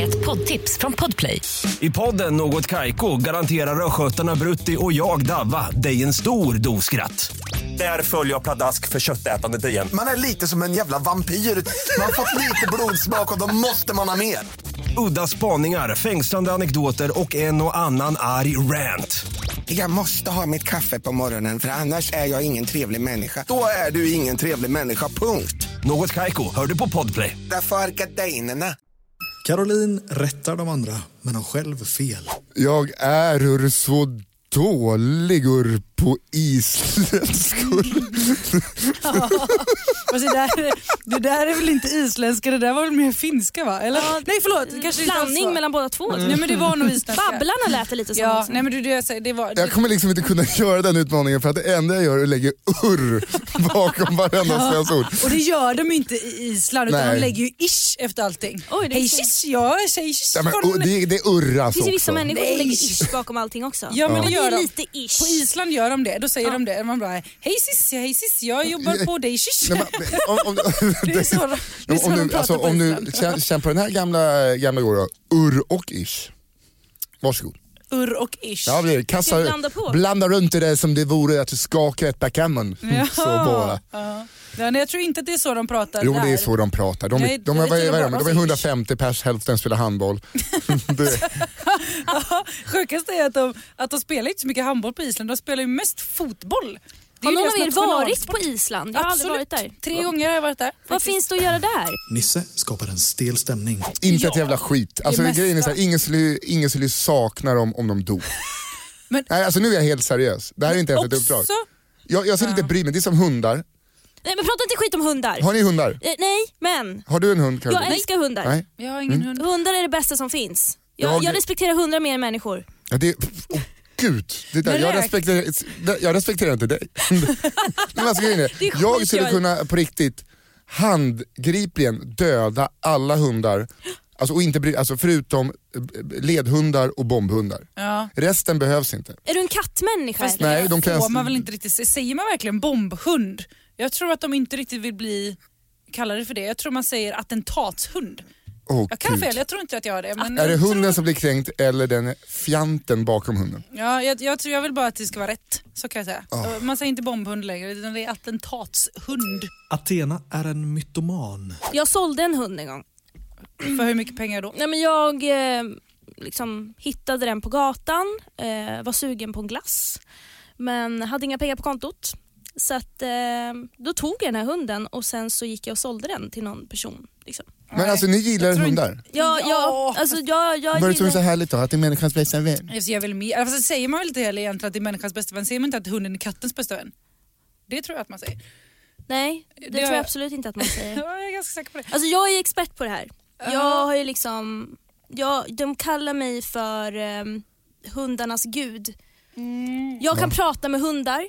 [SPEAKER 6] Ett poddtips från Podplay.
[SPEAKER 7] I podden Något Kaiko garanterar östgötarna Brutti och jag, Davva, dig en stor dos skratt. Där följer jag pladask för köttätandet igen.
[SPEAKER 8] Man är lite som en jävla vampyr. Man har fått lite blodsmak och då måste man ha mer.
[SPEAKER 7] Udda spaningar, fängslande anekdoter och en och annan arg rant.
[SPEAKER 8] Jag måste ha mitt kaffe på morgonen för annars är jag ingen trevlig människa. Då är du ingen trevlig människa, punkt.
[SPEAKER 7] Något Kaiko, hör du på Podplay.
[SPEAKER 8] Därför arkadeinerna.
[SPEAKER 1] Caroline rättar de andra, men har själv fel.
[SPEAKER 3] Jag är ur så dålig urr på isländskor.
[SPEAKER 2] Fast Alltså, det, där, det där är väl inte isländska, det där var väl mer finska va? Eller? nej förlåt, det kanske inte alls var.
[SPEAKER 4] Blandning mellan båda två.
[SPEAKER 2] mm, Nej men det var nog isländska.
[SPEAKER 4] Babblarna lät det lite som.
[SPEAKER 2] Ja,
[SPEAKER 4] också.
[SPEAKER 2] nej men du, det, jag säger, det var...
[SPEAKER 3] Jag kommer liksom inte kunna göra den utmaningen för att det enda jag gör är att lägga urr bakom varenda svenskt ord.
[SPEAKER 2] Och det gör de inte i Island utan
[SPEAKER 3] Nej.
[SPEAKER 2] de lägger ju ish efter allting.
[SPEAKER 4] Oj, det är
[SPEAKER 2] Hej
[SPEAKER 4] så-
[SPEAKER 2] shish, jag säger shish.
[SPEAKER 3] Ja, men,
[SPEAKER 2] från-
[SPEAKER 3] och det, det urras
[SPEAKER 4] Det finns ju
[SPEAKER 3] också.
[SPEAKER 4] vissa människor som
[SPEAKER 2] Nej.
[SPEAKER 4] lägger ish bakom allting också.
[SPEAKER 2] Ja, men det gör
[SPEAKER 4] är
[SPEAKER 2] de.
[SPEAKER 4] lite ish.
[SPEAKER 2] På Island gör de det, då säger de det. Man bara hej sissi, hej sissi, jag jobbar på dig shish.
[SPEAKER 3] Nej, men, om, om,
[SPEAKER 2] Det är så, de- det är så
[SPEAKER 3] om
[SPEAKER 2] de
[SPEAKER 3] du,
[SPEAKER 2] pratar
[SPEAKER 3] alltså,
[SPEAKER 2] på
[SPEAKER 3] om du
[SPEAKER 2] Island.
[SPEAKER 3] känn, känn på den här gamla, gamla gården, urr och ish. Varsågod.
[SPEAKER 2] Urr och ish.
[SPEAKER 3] Ja, det är,
[SPEAKER 4] Ska
[SPEAKER 3] kassa,
[SPEAKER 4] jag blanda på?
[SPEAKER 3] blanda runt det där som det vore att du skakar ett backgammon. Så bara.
[SPEAKER 2] Ja. Ja, nej, jag tror inte att det är så de pratar
[SPEAKER 3] Jo
[SPEAKER 2] där.
[SPEAKER 3] det är så de pratar. De,
[SPEAKER 2] Nej,
[SPEAKER 3] de, de,
[SPEAKER 2] jag
[SPEAKER 3] vad
[SPEAKER 2] vet inte
[SPEAKER 3] är- vad är
[SPEAKER 2] vad
[SPEAKER 3] de,
[SPEAKER 2] de
[SPEAKER 3] de är
[SPEAKER 2] säger.
[SPEAKER 3] 150 pers, hälften spelar handboll. det,
[SPEAKER 2] Sjukast är att de, att de spelar inte så mycket handboll på Island, de spelar ju mest fotboll. Det är
[SPEAKER 4] Har
[SPEAKER 2] ju
[SPEAKER 4] någon
[SPEAKER 2] deras
[SPEAKER 4] av er varit
[SPEAKER 2] nationalsport.
[SPEAKER 4] på Island? Jag har aldrig varit
[SPEAKER 2] Absolut.
[SPEAKER 4] där.
[SPEAKER 2] Tre gånger har jag varit där.
[SPEAKER 4] Vad
[SPEAKER 2] faktiskt.
[SPEAKER 4] finns det att göra där?
[SPEAKER 1] Nisse skapar en stel stämning.
[SPEAKER 3] inte
[SPEAKER 2] Ja.
[SPEAKER 3] ett jävla skit. Alltså,
[SPEAKER 2] Det
[SPEAKER 3] grejen är
[SPEAKER 2] mesta.
[SPEAKER 3] så här, ingen, skulle, ingen skulle sakna dem om de dog.
[SPEAKER 2] Men-
[SPEAKER 3] Nej, alltså, nu är jag helt seriös. Det här är inte ens ett
[SPEAKER 2] Också
[SPEAKER 3] uppdrag. Jag, jag skulle inte bry mig, det är som hundar.
[SPEAKER 4] Nej men prata inte skit om hundar.
[SPEAKER 3] Har ni hundar?
[SPEAKER 4] Eh, nej, men.
[SPEAKER 3] Har du en hund Caroline?
[SPEAKER 4] Jag älskar hundar.
[SPEAKER 3] Nej.
[SPEAKER 2] Jag har
[SPEAKER 3] Mm.
[SPEAKER 2] ingen hund.
[SPEAKER 4] Hundar är det bästa som finns. Jag,
[SPEAKER 3] Jag-
[SPEAKER 4] jag respekterar hundar mer än människor.
[SPEAKER 3] Ja, det, oh, gud, det där,
[SPEAKER 2] Men
[SPEAKER 3] jag,
[SPEAKER 2] räk-
[SPEAKER 3] respekterar, jag respekterar inte dig. Men alltså, grejen är,
[SPEAKER 4] Det är skit,
[SPEAKER 3] jag skulle
[SPEAKER 4] jag-
[SPEAKER 3] kunna på riktigt handgripligen döda alla hundar, alltså, och inte bry, alltså, förutom eh, ledhundar och bombhundar.
[SPEAKER 2] Ja.
[SPEAKER 3] Resten behövs inte.
[SPEAKER 4] Är du en kattmänniska
[SPEAKER 2] Fast
[SPEAKER 4] eller?
[SPEAKER 3] Nej, de kan-
[SPEAKER 2] får man väl inte riktigt, se- säger man verkligen bombhund? Jag tror att de inte riktigt vill bli kallade för det. Jag tror man säger attentatshund.
[SPEAKER 3] Åh,
[SPEAKER 2] Jag kan
[SPEAKER 3] gud.
[SPEAKER 2] fel, jag tror inte att jag har det. Men
[SPEAKER 3] Är det
[SPEAKER 2] jag tror-
[SPEAKER 3] hunden som blir kränkt eller den fjanten bakom hunden?
[SPEAKER 2] Ja, jag, jag, tror, jag vill bara att det ska vara rätt. Så kan jag säga.
[SPEAKER 3] Ah.
[SPEAKER 2] Man säger inte bombhund längre utan det är attentatshund.
[SPEAKER 1] Athena är en mytoman.
[SPEAKER 4] Jag sålde en hund en gång.
[SPEAKER 2] För hur mycket pengar då?
[SPEAKER 4] Nej men jag eh, liksom hittade den på gatan, eh, var sugen på en glass men hade inga pengar på kontot. Så att, eh, då tog jag den här hunden och sen så gick jag och sålde den till någon person. Liksom.
[SPEAKER 3] Men alltså ni gillar
[SPEAKER 2] tror inte-
[SPEAKER 3] hundar?
[SPEAKER 4] Jag, jag,
[SPEAKER 2] Ja.
[SPEAKER 4] alltså, jag, jag
[SPEAKER 3] Vad är det som är så
[SPEAKER 4] gillar-
[SPEAKER 3] härligt då? Att det är människans bästa vän?
[SPEAKER 2] Alltså jag vill mer. Alltså säger man väl inte heller egentligen att det är människans bästa vän? Säger man inte att hunden är kattens bästa vän? Det tror jag att man säger.
[SPEAKER 4] Mm. Nej, det,
[SPEAKER 2] Det-
[SPEAKER 4] tror jag absolut inte att man säger.
[SPEAKER 2] Ja, jag är ganska säker på det.
[SPEAKER 4] Alltså jag är expert på det här. Jag har ju liksom, jag, de kallar mig för eh, hundarnas gud.
[SPEAKER 2] Mm.
[SPEAKER 4] Jag kan prata med hundar,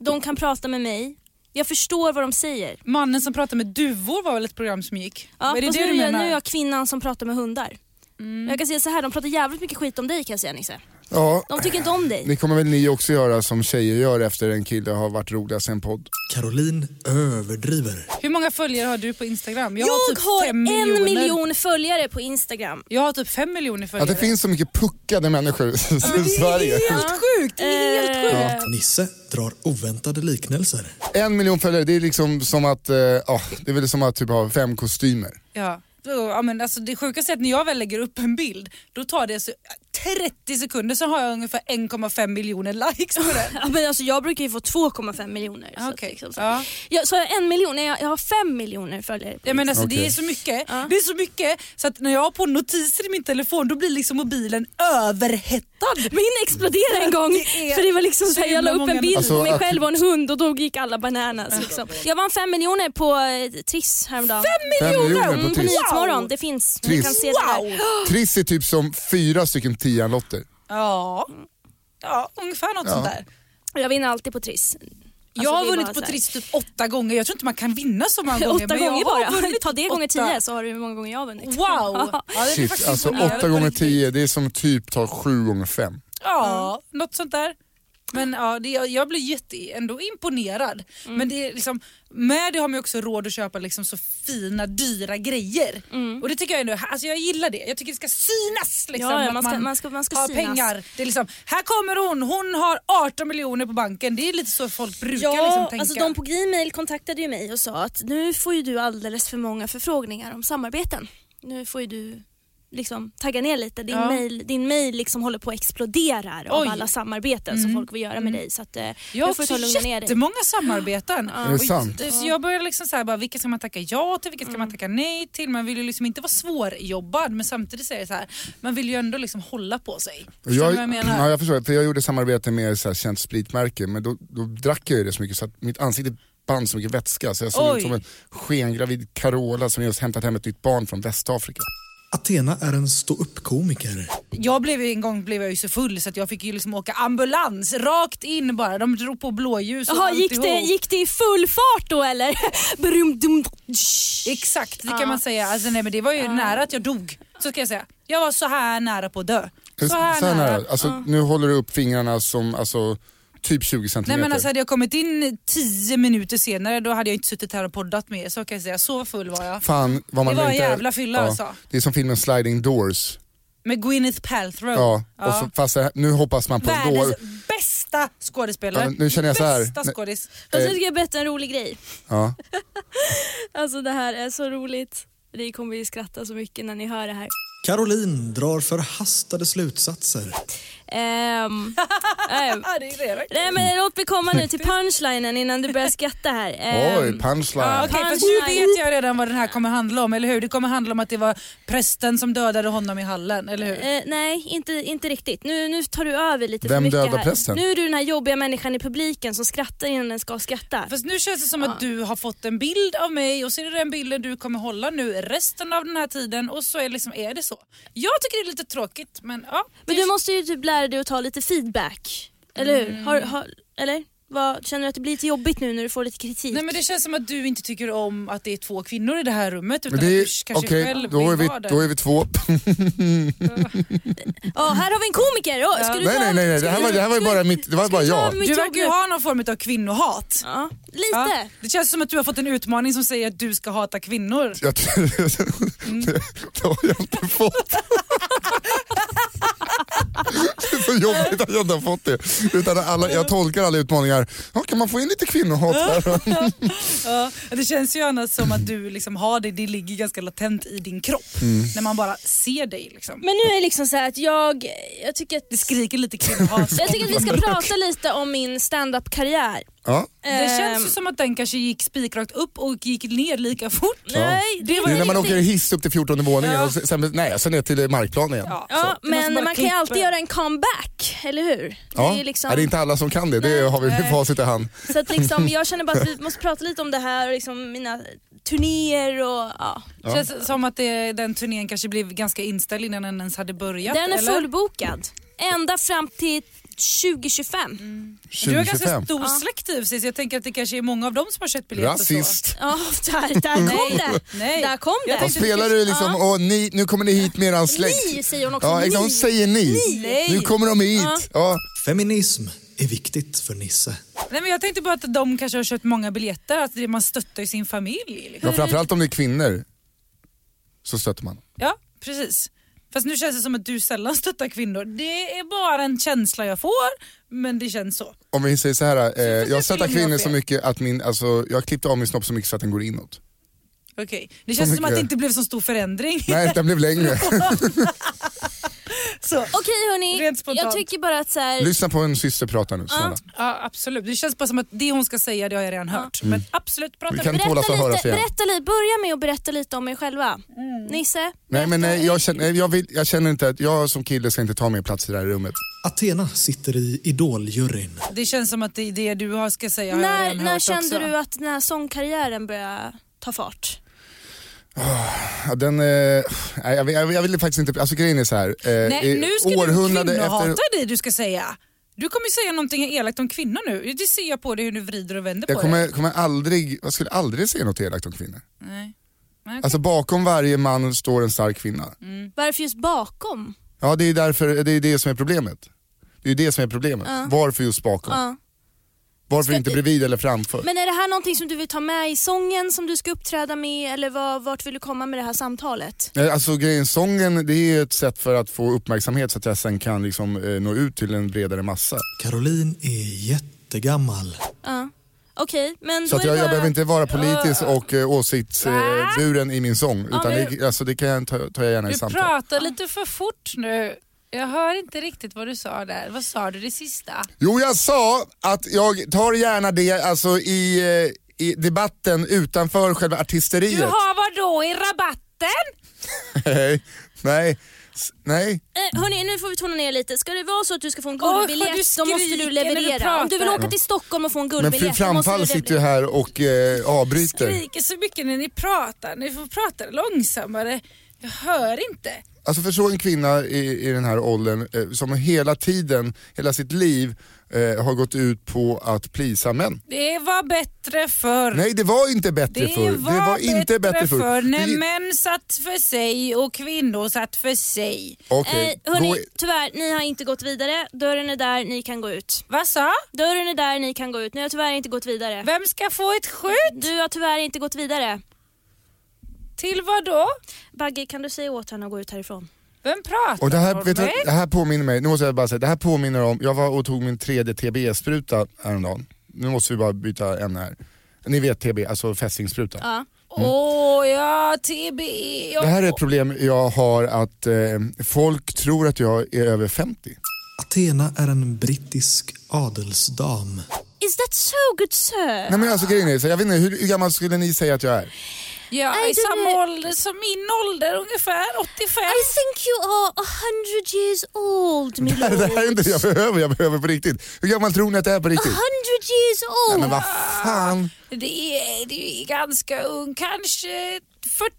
[SPEAKER 4] de kan prata med mig. Jag förstår vad de säger.
[SPEAKER 2] Mannen som pratade med duvor var väl ett program som gick?
[SPEAKER 4] Ja,
[SPEAKER 2] är det
[SPEAKER 4] och så
[SPEAKER 2] det
[SPEAKER 4] nu,
[SPEAKER 2] du
[SPEAKER 4] är jag,
[SPEAKER 2] menar? Mm.
[SPEAKER 4] nu är jag kvinnan som pratar med hundar. Men Jag kan säga så här, de pratar jävligt mycket skit om dig kan jag säga Nisse.
[SPEAKER 3] Ja,
[SPEAKER 4] De tycker inte om dig.
[SPEAKER 3] det kommer väl ni också göra som tjejer gör efter en kille har varit roligast i en podd.
[SPEAKER 1] Caroline överdriver.
[SPEAKER 2] Hur många följare har du på Instagram?
[SPEAKER 4] Jag har,
[SPEAKER 2] fem
[SPEAKER 4] en
[SPEAKER 2] miljoner.
[SPEAKER 4] miljon följare på Instagram.
[SPEAKER 2] Jag har typ fem miljoner följare.
[SPEAKER 3] Att det finns så mycket puckade människor i Sverige.
[SPEAKER 2] sjukt! Det är
[SPEAKER 4] Eh,
[SPEAKER 2] helt sjukt.
[SPEAKER 1] Nisse drar oväntade liknelser.
[SPEAKER 3] En miljon följare, det är liksom som att, eh, ja, det är väl som att typ ha fem kostymer.
[SPEAKER 2] Ja. Ja, men alltså det sjukaste är att när jag väl lägger upp en bild, då tar det så 30 sekunder så har jag ungefär 1,5 miljoner likes på den.
[SPEAKER 4] Ja, men alltså jag brukar ju få 2,5 miljoner. Så, att
[SPEAKER 2] Okej,
[SPEAKER 4] liksom, så.
[SPEAKER 2] ja.
[SPEAKER 4] Jag, så har jag en miljon, nej jag, jag har fem miljoner följare. på
[SPEAKER 2] Ja, men alltså, Det
[SPEAKER 3] Okej.
[SPEAKER 2] är så mycket. Det är så mycket så att när jag har på notiser i min telefon då blir liksom mobilen överhettad.
[SPEAKER 4] Min exploderade en gång
[SPEAKER 2] Det är
[SPEAKER 4] för det var liksom
[SPEAKER 2] så
[SPEAKER 4] så här, jag
[SPEAKER 2] himla
[SPEAKER 4] la upp
[SPEAKER 2] många
[SPEAKER 4] en bild
[SPEAKER 3] Alltså,
[SPEAKER 4] på mig
[SPEAKER 3] att-
[SPEAKER 4] själv och en hund och då gick alla bananas. Liksom. Jag vann fem miljoner på eh, Triss häromdagen.
[SPEAKER 3] Fem miljoner
[SPEAKER 4] Mm,
[SPEAKER 3] på
[SPEAKER 4] på
[SPEAKER 3] Triss.
[SPEAKER 4] Nyhetsmorgon, det finns. Ni
[SPEAKER 3] Triss.
[SPEAKER 4] kan se det där.
[SPEAKER 3] Triss är typ som fyra stycken tianlotter.
[SPEAKER 2] Ja, ja ungefär något sånt där.
[SPEAKER 4] Och Jag vinner alltid på Triss.
[SPEAKER 2] jag
[SPEAKER 4] Alltså,
[SPEAKER 2] har
[SPEAKER 4] det är
[SPEAKER 2] vunnit
[SPEAKER 4] bara
[SPEAKER 2] på
[SPEAKER 4] så här.
[SPEAKER 2] Triss typ åtta gånger. Jag tror inte man kan vinna så många gånger.
[SPEAKER 4] Åtta
[SPEAKER 2] men jag
[SPEAKER 4] gånger
[SPEAKER 2] har
[SPEAKER 4] bara.
[SPEAKER 2] vunnit
[SPEAKER 4] Ta det gånger
[SPEAKER 2] åtta.
[SPEAKER 4] tio så har du hur många gånger jag har vunnit.
[SPEAKER 2] Wow! Ja, det är
[SPEAKER 3] Shit,
[SPEAKER 2] faktiskt
[SPEAKER 3] alltså
[SPEAKER 2] imponerande
[SPEAKER 3] åtta
[SPEAKER 2] på
[SPEAKER 3] gånger
[SPEAKER 2] riktigt.
[SPEAKER 3] tio, det är som typ tar sju gånger fem.
[SPEAKER 2] Ja, något sånt där. Men ja, det, jag, jag blir jätte, ändå imponerad.
[SPEAKER 4] Mm.
[SPEAKER 2] Men det är liksom, med det har man ju också råd att köpa liksom så fina, dyra grejer. Och det tycker jag ändå, alltså jag gillar det. Jag tycker det ska synas liksom.
[SPEAKER 4] Mm. Ja, ja,
[SPEAKER 2] att
[SPEAKER 4] man ska- man ska- man ska
[SPEAKER 2] har
[SPEAKER 4] synas.
[SPEAKER 2] pengar. Det är liksom, här kommer hon, hon har 18 miljoner på banken. Det är lite så folk brukar
[SPEAKER 4] Ja,
[SPEAKER 2] liksom tänka.
[SPEAKER 4] alltså de på Gmail kontaktade ju mig och sa att nu får ju du alldeles för många förfrågningar om samarbeten. Nu får ju du liksom tagga ner lite. Din
[SPEAKER 2] Ja.
[SPEAKER 4] mail, din mail liksom håller på att explodera av
[SPEAKER 2] Oj. Mm.
[SPEAKER 4] alla samarbeten som folk vill göra med dig. Så att, eh,
[SPEAKER 2] Jag har
[SPEAKER 4] nu får du
[SPEAKER 2] också
[SPEAKER 4] ta och lugna ner dig.
[SPEAKER 2] jättemånga samarbeten.
[SPEAKER 3] Är det
[SPEAKER 2] Och-
[SPEAKER 3] sant?
[SPEAKER 2] Så jag börjar liksom så här bara, vilka ska man tacka ja till, vilka ska
[SPEAKER 4] Mm.
[SPEAKER 2] man tacka nej till? Man vill ju liksom inte vara svårjobbad men samtidigt så är det så här, man vill ju ändå liksom hålla på sig. Förstår du vad jag menar?
[SPEAKER 3] Ja, jag förstår. För jag gjorde samarbete med så här, känt spritmärke, men då, då drack jag ju det så mycket så att mitt ansikte band så mycket vätska så jag såg
[SPEAKER 2] Oj.
[SPEAKER 3] ut som en skengravid Carola som just hämtat hem ett nytt barn från Västafrika.
[SPEAKER 1] Athena är en ståuppkomiker.
[SPEAKER 2] Jag blev ju en gång blev jag ju så full så att jag fick ju liksom åka ambulans rakt in bara. De drog på blåljus och
[SPEAKER 4] Jaha, gick
[SPEAKER 2] alltihop.
[SPEAKER 4] det, gick det i full fart då eller? Brum, dum,
[SPEAKER 2] Exakt, det kan man säga. Alltså, nej, men det var ju nära att jag dog. Så ska jag säga. Jag var så här nära på att dö. Så här, nära.
[SPEAKER 3] Alltså, Nu håller du upp fingrarna som alltså, typ 20
[SPEAKER 2] Nej
[SPEAKER 3] centimeter.
[SPEAKER 2] men alltså hade jag kommit in tio minuter senare då hade jag inte suttit här och poddat med er så kan jag säga. Så full var jag.
[SPEAKER 3] Fan, vad man
[SPEAKER 2] Det var en
[SPEAKER 3] längtar-
[SPEAKER 2] jävla fylla, alltså.
[SPEAKER 3] Det är som filmen Sliding Doors.
[SPEAKER 2] Med Gwyneth Paltrow.
[SPEAKER 3] Ja, Och så, fast det här, nu hoppas man på en
[SPEAKER 2] Världens
[SPEAKER 3] dår.
[SPEAKER 2] bästa skådespelare.
[SPEAKER 3] Ja, men nu känner jag så här.
[SPEAKER 2] Bästa
[SPEAKER 3] Nej.
[SPEAKER 2] skådis.
[SPEAKER 4] Fast jag ska jag berätta en rolig grej.
[SPEAKER 3] Ja.
[SPEAKER 4] Alltså det här är så roligt. Ni kommer ju skratta så mycket när ni hör det här.
[SPEAKER 1] Caroline drar förhastade slutsatser.
[SPEAKER 4] Ehm, ehm,
[SPEAKER 2] Ja, det är det verkligen.
[SPEAKER 4] nej men låt mig komma nu till punchlinen innan du börjar skratta här. Ehm,
[SPEAKER 3] Oj, punchline.
[SPEAKER 2] Ja, okej, fast nu vet jag redan vad den här kommer handla om, eller hur? Det kommer handla om att det var prästen som dödade honom i hallen, eller hur?
[SPEAKER 4] Eh, nej, inte, inte riktigt. Nu, nu tar du över lite
[SPEAKER 3] Vem
[SPEAKER 4] för mycket
[SPEAKER 3] dödar
[SPEAKER 4] här.
[SPEAKER 3] prästen?
[SPEAKER 4] Nu är du den här jobbiga människan i publiken som skrattar innan den ska skratta.
[SPEAKER 2] Fast nu känns det som att du har fått en bild av mig och så är det den bilden du kommer hålla nu resten av den här tiden och så är, liksom, är det så. Jag tycker det är lite tråkigt men ja.
[SPEAKER 4] Men du måste ju typ lära dig att ta lite feedback. Eller hur?
[SPEAKER 2] Mm.
[SPEAKER 4] Har, har, eller? Vad, känner du att det blir lite jobbigt nu när du får lite kritik?
[SPEAKER 2] Nej men det känns som att du inte tycker om att det är två kvinnor i det här rummet utan
[SPEAKER 3] Men det
[SPEAKER 2] att
[SPEAKER 3] är,
[SPEAKER 2] du kanske
[SPEAKER 3] okej,
[SPEAKER 2] själv
[SPEAKER 3] då, är
[SPEAKER 2] vill
[SPEAKER 3] vi,
[SPEAKER 2] vara där.
[SPEAKER 3] då är vi två.
[SPEAKER 4] Ja, här har vi en komiker! Oh, ska du
[SPEAKER 3] Nej,
[SPEAKER 4] ta,
[SPEAKER 3] nej, nej, nej. Det, här var, det här var ju bara, mitt, det var bara
[SPEAKER 4] ta
[SPEAKER 3] jag.
[SPEAKER 4] över mitt
[SPEAKER 2] Du
[SPEAKER 4] jobb
[SPEAKER 2] verkar ju
[SPEAKER 4] nu?
[SPEAKER 2] ha någon form av kvinnohat.
[SPEAKER 4] Ja, lite.
[SPEAKER 2] Ja. Det känns som att du har fått en utmaning som säger att du ska hata kvinnor.
[SPEAKER 3] Jag,
[SPEAKER 2] Mm.
[SPEAKER 3] det, det har jag inte fått. Det är så jobbigt att jag inte har fått det. Utan alla, jag tolkar alla utmaningar. Ja, kan man få in lite kvinnohat här?
[SPEAKER 2] Ja, det känns ju annars som att du liksom har det, det ligger ganska latent i din kropp.
[SPEAKER 3] Mm.
[SPEAKER 2] När man bara ser dig liksom.
[SPEAKER 4] Men nu är det liksom så här att jag, jag tycker att
[SPEAKER 2] Det skriker lite kvinnohat.
[SPEAKER 4] jag tycker att vi ska prata lite om min Ehm, stand-up karriär
[SPEAKER 3] Ja.
[SPEAKER 2] Det känns ju som att den kanske gick spikrakt upp och gick ner lika fort.
[SPEAKER 4] Nej, det var
[SPEAKER 3] Nu när man
[SPEAKER 4] riktigt-
[SPEAKER 3] åker hiss upp till 14 våningen och sen, nej, sen ner till markplan igen. Ja.
[SPEAKER 4] Ja,
[SPEAKER 2] Det måste
[SPEAKER 4] men
[SPEAKER 2] bara
[SPEAKER 4] man kan ju
[SPEAKER 2] klippa.
[SPEAKER 4] alltid göra en comeback, eller hur?
[SPEAKER 3] Ja.
[SPEAKER 4] Det är ju liksom,
[SPEAKER 3] är det inte alla som kan det? Det har vi med facit i hand.
[SPEAKER 4] Så att liksom, jag känner bara att vi måste prata lite om det här och liksom mina turnéer och ja.
[SPEAKER 2] Det känns som att det, den turnén kanske blev ganska inställd innan den ens hade börjat.
[SPEAKER 4] Den är
[SPEAKER 2] eller?
[SPEAKER 4] fullbokad. Ända fram till 2025.
[SPEAKER 2] Du har ganska
[SPEAKER 3] 2025.
[SPEAKER 2] stor släkt i och för sig, så jag tänker att det kanske är många av dem som har köpt biljetter. och så.
[SPEAKER 3] Rasist.
[SPEAKER 4] Ja, där, där kom det.
[SPEAKER 2] nej.
[SPEAKER 4] Där kom
[SPEAKER 2] Jag
[SPEAKER 4] det.
[SPEAKER 3] Vad spelar du liksom? Åh, ni, nu kommer ni hit med eran släkt.
[SPEAKER 4] Ni säger hon också.
[SPEAKER 3] Ja, exakt.
[SPEAKER 4] ni.
[SPEAKER 3] Hon säger ni.
[SPEAKER 2] Nej.
[SPEAKER 3] Nu kommer de hit. Ja.
[SPEAKER 1] Feminism är viktigt för Nisse.
[SPEAKER 2] Nej, men jag tänkte bara att de kanske har köpt många biljetter, att det man stöttar ju sin familj. Liksom.
[SPEAKER 3] Ja, framförallt om det är kvinnor så stöter man.
[SPEAKER 2] Ja, precis. Fast nu känns det som att du sällan stöttar kvinnor. Det är bara en känsla jag får, men det känns så.
[SPEAKER 3] Om vi säger så här, eh,
[SPEAKER 2] jag
[SPEAKER 3] jag
[SPEAKER 2] till
[SPEAKER 3] stöttar
[SPEAKER 2] och med
[SPEAKER 3] kvinnor så
[SPEAKER 2] fel.
[SPEAKER 3] mycket att min, alltså, jag klippte av min snopp så mycket så att den går inåt.
[SPEAKER 2] Okej. Det känns som
[SPEAKER 3] mycket.
[SPEAKER 2] att det inte blev så stor förändring.
[SPEAKER 3] Nej, den blev längre.
[SPEAKER 2] så.
[SPEAKER 4] Okej hörni,
[SPEAKER 2] Rent spontant.
[SPEAKER 4] jag tycker bara att så här,
[SPEAKER 3] Lyssna på en syster prata nu, snälla.
[SPEAKER 2] Ja, absolut. Det känns bara som att det hon ska säga det har jag redan hört. Men absolut, prata
[SPEAKER 3] Mm. Vi
[SPEAKER 2] med
[SPEAKER 3] kan
[SPEAKER 2] mig.
[SPEAKER 3] tåla för att
[SPEAKER 4] berätta
[SPEAKER 3] höra
[SPEAKER 4] lite,
[SPEAKER 3] fel.
[SPEAKER 4] berätta lite, börja med att berätta lite om er själva.
[SPEAKER 2] Mm.
[SPEAKER 4] Nisse?
[SPEAKER 3] Nej, men
[SPEAKER 4] berätta.
[SPEAKER 3] nej, jag, känner, nej, jag, vill, jag känner inte att jag som kille ska inte ta min plats i det här rummet.
[SPEAKER 1] Athena sitter i Idoljuryn.
[SPEAKER 2] Det känns som att det, det du har ska säga har jag
[SPEAKER 4] När,
[SPEAKER 2] redan
[SPEAKER 4] när
[SPEAKER 2] hört
[SPEAKER 4] kände
[SPEAKER 2] också.
[SPEAKER 4] du att den här sångkarriären började ta fart?
[SPEAKER 3] Ja, den, eh, nej, jag, vill- jag, vill- jag ville faktiskt inte, alltså grejen är så här. eh,
[SPEAKER 2] Nej,
[SPEAKER 3] i
[SPEAKER 2] nu ska du kvinnohata
[SPEAKER 3] efter,
[SPEAKER 2] dig du ska säga. Du kommer ju säga någonting elakt om kvinnor nu. Det ser jag på dig hur du vrider och vänder
[SPEAKER 3] jag
[SPEAKER 2] på
[SPEAKER 3] kommer,
[SPEAKER 2] det.
[SPEAKER 3] kommer aldrig, jag skulle aldrig säga något elakt om kvinnor.
[SPEAKER 2] Nej. Nej, okej.
[SPEAKER 3] Alltså bakom varje man står en stark kvinna.
[SPEAKER 2] Mm.
[SPEAKER 4] Varför just bakom?
[SPEAKER 3] Ja, det är därför, det är det som är problemet. Det är ju det som är problemet. Varför just bakom?
[SPEAKER 4] Ja.
[SPEAKER 3] Varför inte bredvid eller framför?
[SPEAKER 4] Men är det här någonting som du vill ta med i sången som du ska uppträda med eller vad, vart vill du komma med det här samtalet?
[SPEAKER 3] Nej, Alltså grejen, sången det är ett sätt för att få uppmärksamhet så att jag sen kan liksom, eh, nå ut till en bredare massa.
[SPEAKER 1] Caroline är jättegammal.
[SPEAKER 4] Ja. Okej, men
[SPEAKER 3] Så
[SPEAKER 4] då
[SPEAKER 3] att
[SPEAKER 4] är
[SPEAKER 3] jag,
[SPEAKER 4] det
[SPEAKER 3] jag
[SPEAKER 4] bara...
[SPEAKER 3] behöver inte vara politisk och eh, åsiktsburen i min sång. Utan
[SPEAKER 4] men-
[SPEAKER 3] det, alltså, det kan jag ta, tar jag gärna i
[SPEAKER 2] Du
[SPEAKER 3] samtal.
[SPEAKER 2] pratar lite för fort nu. Jag hör inte riktigt vad du sa där. Vad sa du det sista?
[SPEAKER 3] Jo, jag sa att jag tar gärna det alltså, i, eh, i debatten utanför själva artisteriet.
[SPEAKER 2] Du har vad då i rabatten?
[SPEAKER 3] Nej, nej, s- nej.
[SPEAKER 4] Eh, hörni, nu får vi tona ner lite. Ska det vara så att du ska få en
[SPEAKER 2] Åh,
[SPEAKER 4] guldbiljett
[SPEAKER 2] vad du
[SPEAKER 4] då måste
[SPEAKER 2] skriker
[SPEAKER 4] du
[SPEAKER 2] när du
[SPEAKER 4] leverera.
[SPEAKER 2] pratar.
[SPEAKER 4] Om du vill åka till Stockholm och få en
[SPEAKER 3] Men
[SPEAKER 4] guldbiljett
[SPEAKER 3] fru
[SPEAKER 4] då måste du
[SPEAKER 3] Framfall sitter ju
[SPEAKER 4] leverera.
[SPEAKER 3] här och eh, avbryter.
[SPEAKER 2] skriker så mycket när ni pratar. Ni får prata långsammare. Jag hör inte.
[SPEAKER 3] Alltså förstå en kvinna i, i den här åldern eh, som hela tiden, hela sitt liv eh, har gått ut på att plisa män.
[SPEAKER 2] Det var bättre förr.
[SPEAKER 3] Nej det var inte bättre
[SPEAKER 2] det,
[SPEAKER 3] förr.
[SPEAKER 2] var
[SPEAKER 3] det var inte bättre förr.
[SPEAKER 2] när
[SPEAKER 3] Det-
[SPEAKER 2] män satt för sig och kvinnor satt för sig.
[SPEAKER 3] Okej,
[SPEAKER 4] Eh,
[SPEAKER 3] gå
[SPEAKER 4] hörni,
[SPEAKER 3] i-
[SPEAKER 4] tyvärr, ni har inte gått vidare. Dörren är där, ni kan gå ut.
[SPEAKER 2] Vad sa?
[SPEAKER 4] Dörren är där, ni kan gå ut. Ni har tyvärr inte gått vidare.
[SPEAKER 2] Vem ska få ett skydd?
[SPEAKER 4] Du har tyvärr inte gått vidare.
[SPEAKER 2] Till vad då?
[SPEAKER 4] Bagge, kan du säga åt honom att gå ut härifrån?
[SPEAKER 2] Vem pratar
[SPEAKER 3] och det här,
[SPEAKER 2] om
[SPEAKER 3] vet du,
[SPEAKER 2] mig?
[SPEAKER 3] det här påminner mig, nu måste jag bara säga, det här påminner om, jag var och tog min tredje TBE-spruta häromdagen. Nu måste vi bara byta ämne här. Ni vet TB, alltså fästingspruta.
[SPEAKER 4] Ja.
[SPEAKER 2] Åh
[SPEAKER 3] Mm.
[SPEAKER 2] ja, TBE.
[SPEAKER 3] Det här är ett problem jag har att eh, folk tror att jag är över 50.
[SPEAKER 1] Athena är en brittisk adelsdam.
[SPEAKER 4] Is that so good sir?
[SPEAKER 3] Nej men alltså grejen är, så jag vet inte, hur, hur gammal skulle ni säga att jag är?
[SPEAKER 2] Ja,
[SPEAKER 4] I
[SPEAKER 2] i
[SPEAKER 4] don't
[SPEAKER 2] samma
[SPEAKER 4] know.
[SPEAKER 2] ålder som min ålder ungefär, 85.
[SPEAKER 4] I think you are a hundred years old, my lord.
[SPEAKER 3] Det här är inte det jag behöver, jag behöver på riktigt. Hur gammal tror ni att jag är på
[SPEAKER 4] A
[SPEAKER 3] riktigt?
[SPEAKER 4] hundred years
[SPEAKER 3] Nej
[SPEAKER 4] old.
[SPEAKER 3] men vad fan.
[SPEAKER 2] Det är, det är ganska ung, kanske 45.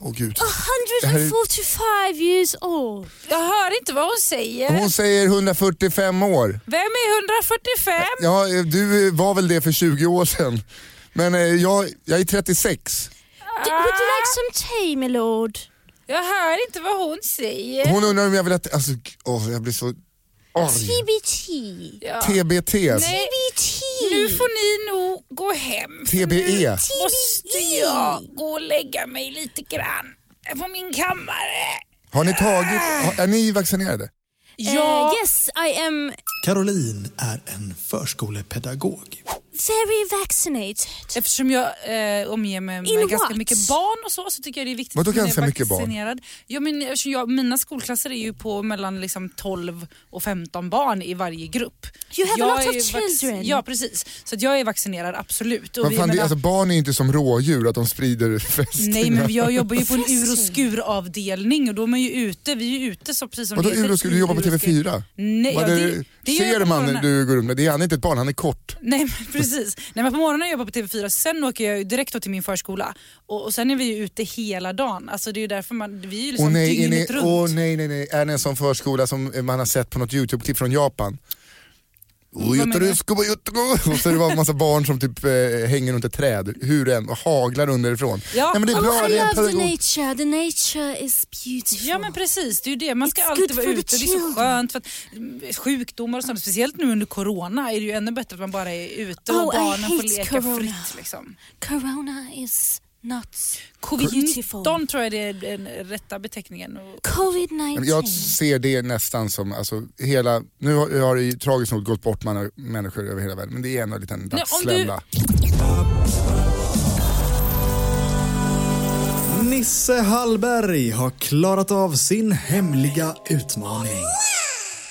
[SPEAKER 3] Åh gud.
[SPEAKER 4] A hundred
[SPEAKER 3] Det här
[SPEAKER 4] and
[SPEAKER 3] är-
[SPEAKER 4] forty-five years old.
[SPEAKER 2] Jag hör inte vad hon säger.
[SPEAKER 3] Hon säger 145 år.
[SPEAKER 2] Vem är 145?
[SPEAKER 3] Ja, eh, du eh, var väl det för 20 år sedan. Men eh, jag, jag är 36.
[SPEAKER 4] D- would you like some tea, my lord?
[SPEAKER 2] Ah, Jag hör inte vad hon säger.
[SPEAKER 3] Hon undrar om jag vill att... Alltså, g- åh, jag blir så... Oj.
[SPEAKER 4] TBT.
[SPEAKER 2] Ja.
[SPEAKER 3] TBT.
[SPEAKER 2] Nej,
[SPEAKER 4] TBT.
[SPEAKER 2] nu får ni nog gå hem. för
[SPEAKER 3] TBE.
[SPEAKER 2] nu Måste
[SPEAKER 3] E.
[SPEAKER 2] jag gå och lägga mig lite grann på min kammare?
[SPEAKER 4] Eh,
[SPEAKER 3] Har ni tagit... har- Är ni vaccinerade?
[SPEAKER 4] Uh, yes, I am
[SPEAKER 1] Caroline är en förskolepedagog.
[SPEAKER 4] very vaccinated.
[SPEAKER 2] Eftersom jag eh, omger mig med
[SPEAKER 4] In
[SPEAKER 2] ganska
[SPEAKER 4] what?
[SPEAKER 2] mycket barn och så, så tycker jag det är viktigt
[SPEAKER 3] Vadå
[SPEAKER 2] att man är
[SPEAKER 3] ganska mycket barn?
[SPEAKER 2] vaccinerad. Ja, men, eftersom jag, mina skolklasser är ju på mellan liksom, 12 och 15 barn i varje grupp.
[SPEAKER 4] You have a
[SPEAKER 2] jag
[SPEAKER 4] lot
[SPEAKER 2] är
[SPEAKER 4] of
[SPEAKER 2] ju vac-
[SPEAKER 4] children.
[SPEAKER 2] Ja, precis. Så att jag är vaccinerad, absolut. Och
[SPEAKER 3] Men
[SPEAKER 2] vi-
[SPEAKER 3] fan,
[SPEAKER 2] jag
[SPEAKER 3] det,
[SPEAKER 2] menar-
[SPEAKER 3] alltså, barn är ju inte som rådjur, att de sprider fästingar.
[SPEAKER 2] Nej men jag jobbar ju på en ur och skuravdelning och då är man ju ute, vi är ju ute så precis som
[SPEAKER 3] Vadå
[SPEAKER 2] det heter,
[SPEAKER 3] ur och skulle du jobba på
[SPEAKER 2] ur och skur.
[SPEAKER 3] TV4?
[SPEAKER 2] Nej,
[SPEAKER 3] Vad
[SPEAKER 2] ja,
[SPEAKER 3] är
[SPEAKER 2] det- det gör jag
[SPEAKER 3] ser
[SPEAKER 2] på
[SPEAKER 3] man
[SPEAKER 2] morgonen.
[SPEAKER 3] du går runt med, det är, han är inte ett barn, han är kort.
[SPEAKER 2] Nej men precis. Nej, men på morgonen jobbar jag på TV4, sen åker jag ju direkt då till min förskola och, och sen är vi ju ute hela dagen. Alltså det är ju därför man, vi är ju liksom
[SPEAKER 3] Åh nej, är ni,
[SPEAKER 2] dygnet runt.
[SPEAKER 3] åh, nej, nej, nej, är ni en sån förskola som eh, man har sett på något YouTube-klipp från Japan? Oj,
[SPEAKER 2] menar du?
[SPEAKER 3] jätterusko, oj, jätterusko. Och så är det bara en massa barn som typ eh, hänger runt ett träd, hur än, och haglar underifrån.
[SPEAKER 2] Ja.
[SPEAKER 3] Nej men det är bra,
[SPEAKER 4] Oh, I
[SPEAKER 3] det är en
[SPEAKER 4] love the
[SPEAKER 3] pedagog.
[SPEAKER 4] nature. The nature is beautiful.
[SPEAKER 2] Ja men precis, det är ju det. Man ska
[SPEAKER 4] It's
[SPEAKER 2] alltid
[SPEAKER 4] good
[SPEAKER 2] vara
[SPEAKER 4] for the
[SPEAKER 2] ute och det är så
[SPEAKER 4] children.
[SPEAKER 2] skönt för att mm, sjukdomar och sånt, speciellt nu under corona är det ju ännu bättre att man bara är ute och
[SPEAKER 4] Oh, I
[SPEAKER 2] barnen får
[SPEAKER 4] hate
[SPEAKER 2] leka
[SPEAKER 4] corona.
[SPEAKER 2] fritt liksom.
[SPEAKER 4] Corona is not beautiful.
[SPEAKER 2] Covid-19 tror jag det är den rätta beteckningen. Och-
[SPEAKER 4] Covid-19.
[SPEAKER 3] Jag ser det nästan som, alltså hela, nu har, har det ju tragiskt nog gått bort man, människor över hela världen, men det är ändå en liten
[SPEAKER 2] Nej, om du-
[SPEAKER 3] dagslända.
[SPEAKER 1] Nisse Hallberg har klarat av sin hemliga utmaning.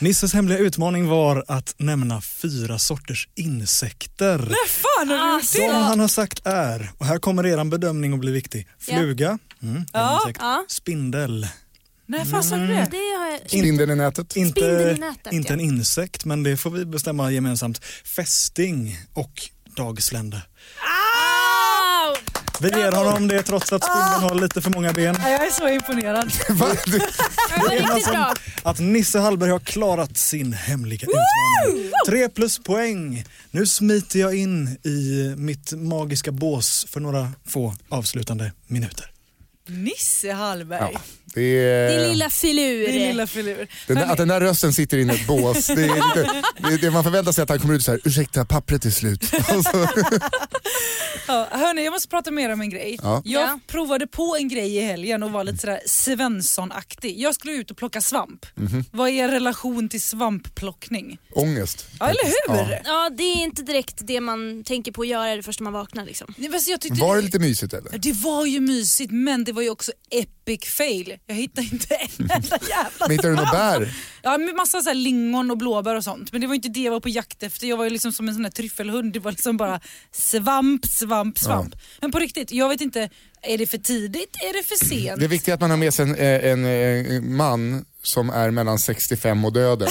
[SPEAKER 1] Nisses hemliga utmaning var att nämna fyra sorters insekter.
[SPEAKER 2] Fan har du gjort
[SPEAKER 1] Som han har sagt är, och här kommer eran bedömning att bli viktig. Fluga, mm, det är en insekt. spindel.
[SPEAKER 2] Nej, fan sa du
[SPEAKER 3] Mm.
[SPEAKER 2] det?
[SPEAKER 4] Det har jag...
[SPEAKER 3] Spindeln i nätet.
[SPEAKER 1] Inte,
[SPEAKER 4] Spindeln i nätet,
[SPEAKER 1] inte
[SPEAKER 4] ja.
[SPEAKER 1] en insekt, men det får vi bestämma gemensamt. Fästing och dagslända.
[SPEAKER 2] Au!
[SPEAKER 1] Vi ger honom det trots att spindeln
[SPEAKER 4] Ah!
[SPEAKER 1] har lite för många ben.
[SPEAKER 2] Ja, Jag är så imponerad.
[SPEAKER 3] Va? Du-
[SPEAKER 2] Det är riktigt bra.
[SPEAKER 1] Att Nisse Hallberg har klarat sin hemliga utmaning. Tre plus poäng. Nu smiter jag in i mitt magiska bås för några få avslutande minuter.
[SPEAKER 2] Nisse Hallberg.
[SPEAKER 3] Ja, det är...
[SPEAKER 4] Din lilla filur.
[SPEAKER 2] Din lilla filur.
[SPEAKER 3] Den där,
[SPEAKER 2] Hörni,
[SPEAKER 3] att den där rösten sitter inne i ett bås, det är lite, det, det man förväntar sig att han kommer ut så här, ursäkta pappret är slut. Och så-
[SPEAKER 2] ja, hörni, jag måste prata mer om en grej.
[SPEAKER 3] Ja.
[SPEAKER 2] Jag
[SPEAKER 4] Ja.
[SPEAKER 2] provade på en grej i helgen och var lite sådär Svensson-aktig. Jag skulle ut och plocka svamp.
[SPEAKER 3] Mhm.
[SPEAKER 2] Vad är er relation till svampplockning?
[SPEAKER 3] Ångest.
[SPEAKER 2] Ja, eller hur? Ja.
[SPEAKER 4] Ja, det är inte direkt det man tänker på att göra det första man vaknar liksom.
[SPEAKER 2] alltså, Jag tyckte
[SPEAKER 3] Var det lite mysigt eller?
[SPEAKER 2] det var ju mysigt men det var ju också epic fail. Jag hittade inte en enda jävla
[SPEAKER 3] Men hittar du något bär?
[SPEAKER 2] Ja, med massa så här lingon och blåbär och sånt. Men det var inte det jag var på jakt efter. Jag var ju liksom som en sån här tryffelhund. Det var liksom bara svamp, svamp, svamp. Men på riktigt, jag vet inte. Är det för tidigt? Är det för sent?
[SPEAKER 3] Det är viktigt att man har med sig en, eh, en, eh, man som är mellan 65 och döden.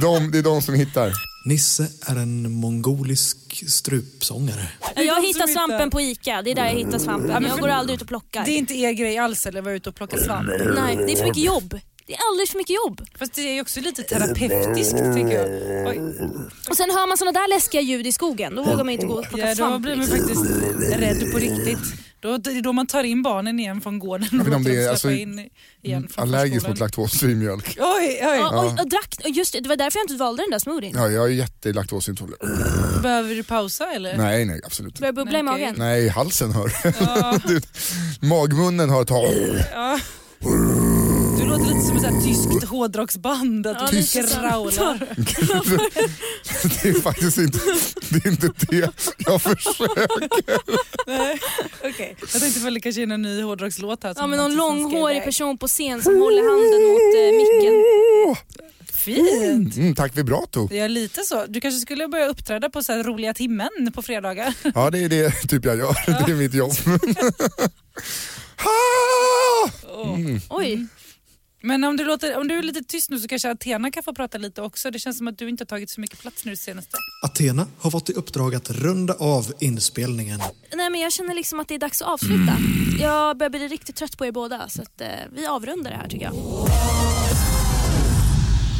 [SPEAKER 3] de, det är de som hittar.
[SPEAKER 1] Nisse är en mongolisk strupsångare.
[SPEAKER 4] Jag
[SPEAKER 2] de
[SPEAKER 4] hittar
[SPEAKER 2] som hittar.
[SPEAKER 4] svampen på Ica, det är där jag hittar svampen. Jag går aldrig ut och plockar.
[SPEAKER 2] Det är inte er grej alls eller vara ute och plocka svamp.
[SPEAKER 4] Nej, det är för mycket jobb. Det är alldeles för mycket jobb.
[SPEAKER 2] Fast det är ju också lite terapeutiskt tycker jag. Oj,
[SPEAKER 4] Och sen hör man såna där läskiga ljud i skogen, då vågar man inte gå och plocka
[SPEAKER 2] ja, då
[SPEAKER 4] svamp.
[SPEAKER 2] blir man faktiskt rädd på riktigt. Då, det är då man tar in barnen igen från gården och
[SPEAKER 3] vet inte om
[SPEAKER 2] låter
[SPEAKER 3] det är-
[SPEAKER 2] dem
[SPEAKER 3] alltså,
[SPEAKER 2] släppa in igen från
[SPEAKER 3] Mm. Allergisk
[SPEAKER 2] förskolan.
[SPEAKER 3] mot laktosfri mjölk.
[SPEAKER 2] Oj, oj.
[SPEAKER 4] Ja, och, och drack, och just det, det var därför jag inte valde den där smoothien.
[SPEAKER 3] Ja, jag är jättelaktosintolerant.
[SPEAKER 2] Behöver du pausa eller?
[SPEAKER 3] Nej, nej absolut inte.
[SPEAKER 4] Börjar bubbla i
[SPEAKER 2] Nej, okej.
[SPEAKER 4] magen.
[SPEAKER 3] Nej, halsen hör. Du, magmunnen har ett tag.
[SPEAKER 2] Du låter lite som ett så här tyskt hårdrocksband, att du
[SPEAKER 4] Tyst.
[SPEAKER 2] growlar.
[SPEAKER 3] Det är faktiskt inte... Det är inte det jag försöker.
[SPEAKER 2] Okej. Jag tänkte väl det kanske är någon ny hårdrockslåt här. som
[SPEAKER 4] Ja men
[SPEAKER 2] man
[SPEAKER 4] någon
[SPEAKER 2] tillsammans ska
[SPEAKER 4] långhårig
[SPEAKER 2] iväg.
[SPEAKER 4] person på scen som håller handen mot eh, micken.
[SPEAKER 2] Fint.
[SPEAKER 3] Mm, tack vibrato.
[SPEAKER 2] Ja lite så. Du kanske skulle börja uppträda på så här roliga timmen på fredagar.
[SPEAKER 3] Ja det är det typ jag gör, det är mitt jobb. Ah!
[SPEAKER 4] Oj.
[SPEAKER 2] Men om du, låter, om du är lite tyst nu så kanske Athena kan få prata lite också. Det känns som att du inte har tagit så mycket plats nu det senaste.
[SPEAKER 1] Athena har fått i uppdrag att runda av inspelningen.
[SPEAKER 4] Nej men jag känner liksom att det är dags att avsluta.
[SPEAKER 3] Mm.
[SPEAKER 4] Jag börjar bli riktigt trött på er båda så att eh, vi avrundar det här tycker jag.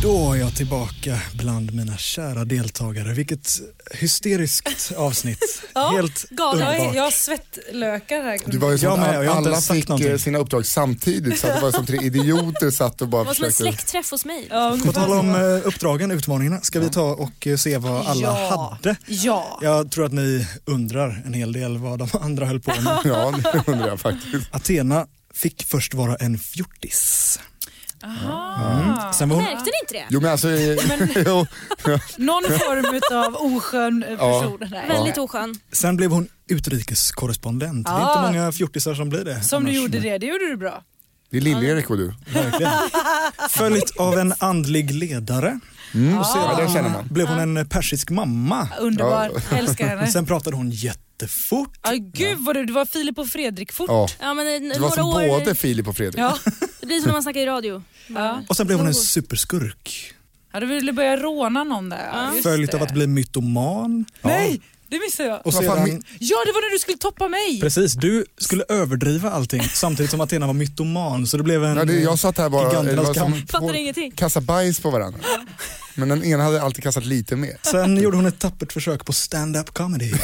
[SPEAKER 1] Då är jag tillbaka bland mina kära deltagare. Vilket hysteriskt avsnitt. Helt
[SPEAKER 4] galet.
[SPEAKER 2] Jag,
[SPEAKER 1] underbart.
[SPEAKER 2] är, jag har svettlökar här.
[SPEAKER 3] Det var ju så
[SPEAKER 1] Jag
[SPEAKER 3] att
[SPEAKER 1] med, och jag har inte
[SPEAKER 3] alla
[SPEAKER 1] ens sagt
[SPEAKER 3] fick eh,
[SPEAKER 1] någonting.
[SPEAKER 3] sina uppdrag samtidigt så att det var som tre idioter satt och
[SPEAKER 4] Det
[SPEAKER 3] bara
[SPEAKER 4] var som en
[SPEAKER 3] försökte.
[SPEAKER 4] släktträff hos mig.
[SPEAKER 2] Ja,
[SPEAKER 1] På
[SPEAKER 2] ungefär
[SPEAKER 1] tal
[SPEAKER 2] så.
[SPEAKER 1] om eh, uppdragen, utmaningarna, ska vi ta och eh, se vad alla
[SPEAKER 2] Ja.
[SPEAKER 1] hade?
[SPEAKER 2] Ja.
[SPEAKER 1] Jag tror att ni undrar en hel del vad de andra höll på med.
[SPEAKER 3] Ja det undrar jag faktiskt.
[SPEAKER 1] Athena fick först vara en fjortis. Mm.
[SPEAKER 2] Aha.
[SPEAKER 1] Sen var hon
[SPEAKER 4] Märkte ni inte det?
[SPEAKER 3] Jo men alltså, eh, jo,
[SPEAKER 2] Någon form av oskön eh,
[SPEAKER 3] Ja.
[SPEAKER 2] person. Nej.
[SPEAKER 4] Väldigt oskön.
[SPEAKER 1] Sen blev hon utrikeskorrespondent. Det är
[SPEAKER 2] Ah.
[SPEAKER 1] inte många fjortisar som blir det.
[SPEAKER 2] Som du
[SPEAKER 1] annars,
[SPEAKER 2] gjorde
[SPEAKER 1] men
[SPEAKER 2] det, det gjorde du bra.
[SPEAKER 3] det är Lill-Erik och du.
[SPEAKER 1] Verkligen. Följt av en andlig ledare.
[SPEAKER 3] Mm. Ja, den känner man.
[SPEAKER 1] Blev hon en persisk mamma.
[SPEAKER 2] Underbar, älskar henne.
[SPEAKER 1] Sen pratade hon jättefort.
[SPEAKER 2] Ja, gud vad du, du var Filip och Fredrik fort.
[SPEAKER 3] Ja.
[SPEAKER 4] Ja men eh,
[SPEAKER 3] Det var
[SPEAKER 4] några
[SPEAKER 3] som
[SPEAKER 4] år,
[SPEAKER 3] både Filip och Fredrik.
[SPEAKER 2] Ja.
[SPEAKER 4] det blir som när man snackar i radio.
[SPEAKER 2] Ja.
[SPEAKER 1] Och sen blev hon en superskurk.
[SPEAKER 2] Ja, du ville börja råna någon där. Ja, just
[SPEAKER 1] Följt
[SPEAKER 2] det.
[SPEAKER 1] av att bli mytoman.
[SPEAKER 2] Nej, det missade jag.
[SPEAKER 1] Och
[SPEAKER 3] Vad fan,
[SPEAKER 1] sedan,
[SPEAKER 3] min-
[SPEAKER 2] Ja, det var när du skulle toppa mig.
[SPEAKER 1] precis, du skulle överdriva allting samtidigt som Athena var mytoman så det blev en...
[SPEAKER 3] Ja, det, jag satt här bara
[SPEAKER 1] Giganternas
[SPEAKER 3] det var
[SPEAKER 1] kamp.
[SPEAKER 3] som
[SPEAKER 4] Fattar
[SPEAKER 3] två-
[SPEAKER 4] ingenting.
[SPEAKER 3] kasta bajs på varandra. Men den ena hade alltid kastat lite mer.
[SPEAKER 1] Sen gjorde hon ett tappert försök på stand-up comedy.
[SPEAKER 4] Det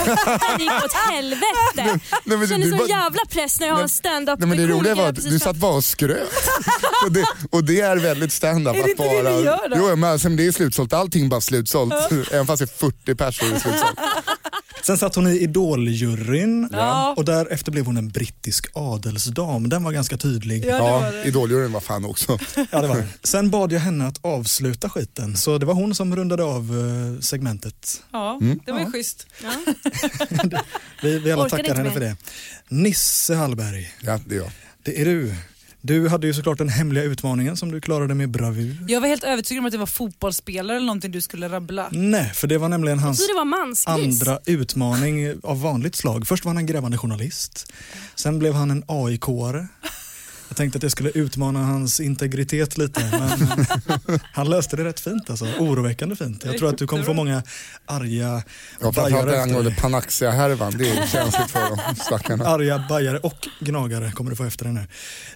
[SPEAKER 4] gick åt helvete.
[SPEAKER 3] Nej, men
[SPEAKER 4] Känner
[SPEAKER 3] du
[SPEAKER 4] sån
[SPEAKER 3] bara-
[SPEAKER 4] jävla press när jag har en stand-up
[SPEAKER 3] Nej, men det roliga var att
[SPEAKER 4] precis
[SPEAKER 3] du
[SPEAKER 4] fram-
[SPEAKER 3] satt bara och skröt. och, det, och det är väldigt stand-up.
[SPEAKER 2] Är det
[SPEAKER 3] att
[SPEAKER 2] inte det
[SPEAKER 3] bara,
[SPEAKER 2] vi gör då?
[SPEAKER 3] Jo, men alltså, det är slutsålt. Allting bara slutsålt. Även fast det är 40 personer är det slutsålt.
[SPEAKER 1] Sen satt hon i Idol-juryn
[SPEAKER 2] Ja.
[SPEAKER 1] och därefter blev hon en brittisk adelsdam. Den var ganska tydlig.
[SPEAKER 2] Ja, det var
[SPEAKER 3] Ja,
[SPEAKER 2] det.
[SPEAKER 3] Idoljuryn var fan också.
[SPEAKER 1] Ja, det var den. Sen bad jag henne att avsluta skiten så det var hon som rundade av eh, segmentet.
[SPEAKER 2] Ja, det var ju schysst.
[SPEAKER 1] Vi, vi alla
[SPEAKER 4] Orkade
[SPEAKER 1] tackar
[SPEAKER 4] inte
[SPEAKER 1] henne för
[SPEAKER 4] mer.
[SPEAKER 1] det. Nisse Hallberg,
[SPEAKER 3] Ja, det är jag.
[SPEAKER 1] det är du. Du hade ju såklart den hemliga utmaningen som du klarade med bravur.
[SPEAKER 2] Jag var helt övertygad om att det var fotbollsspelare eller någonting du skulle rabbla.
[SPEAKER 1] Nej, för det var nämligen hans
[SPEAKER 4] Så det var mansgris.
[SPEAKER 1] andra utmaning av vanligt slag. Först var han en grävande journalist, sen blev han en AIK-are. Jag tänkte att jag skulle utmana hans integritet lite, men eh, han löste det rätt fint alltså. Oroväckande fint. Jag tror att du kommer få många arga
[SPEAKER 3] Ja, framförallt
[SPEAKER 1] bajare efter
[SPEAKER 3] angående
[SPEAKER 1] dig.
[SPEAKER 3] Panaxia-härvan. Det är känsligt för dem, stackarna.
[SPEAKER 1] Arga bajare och gnagare kommer du få efter dig nu.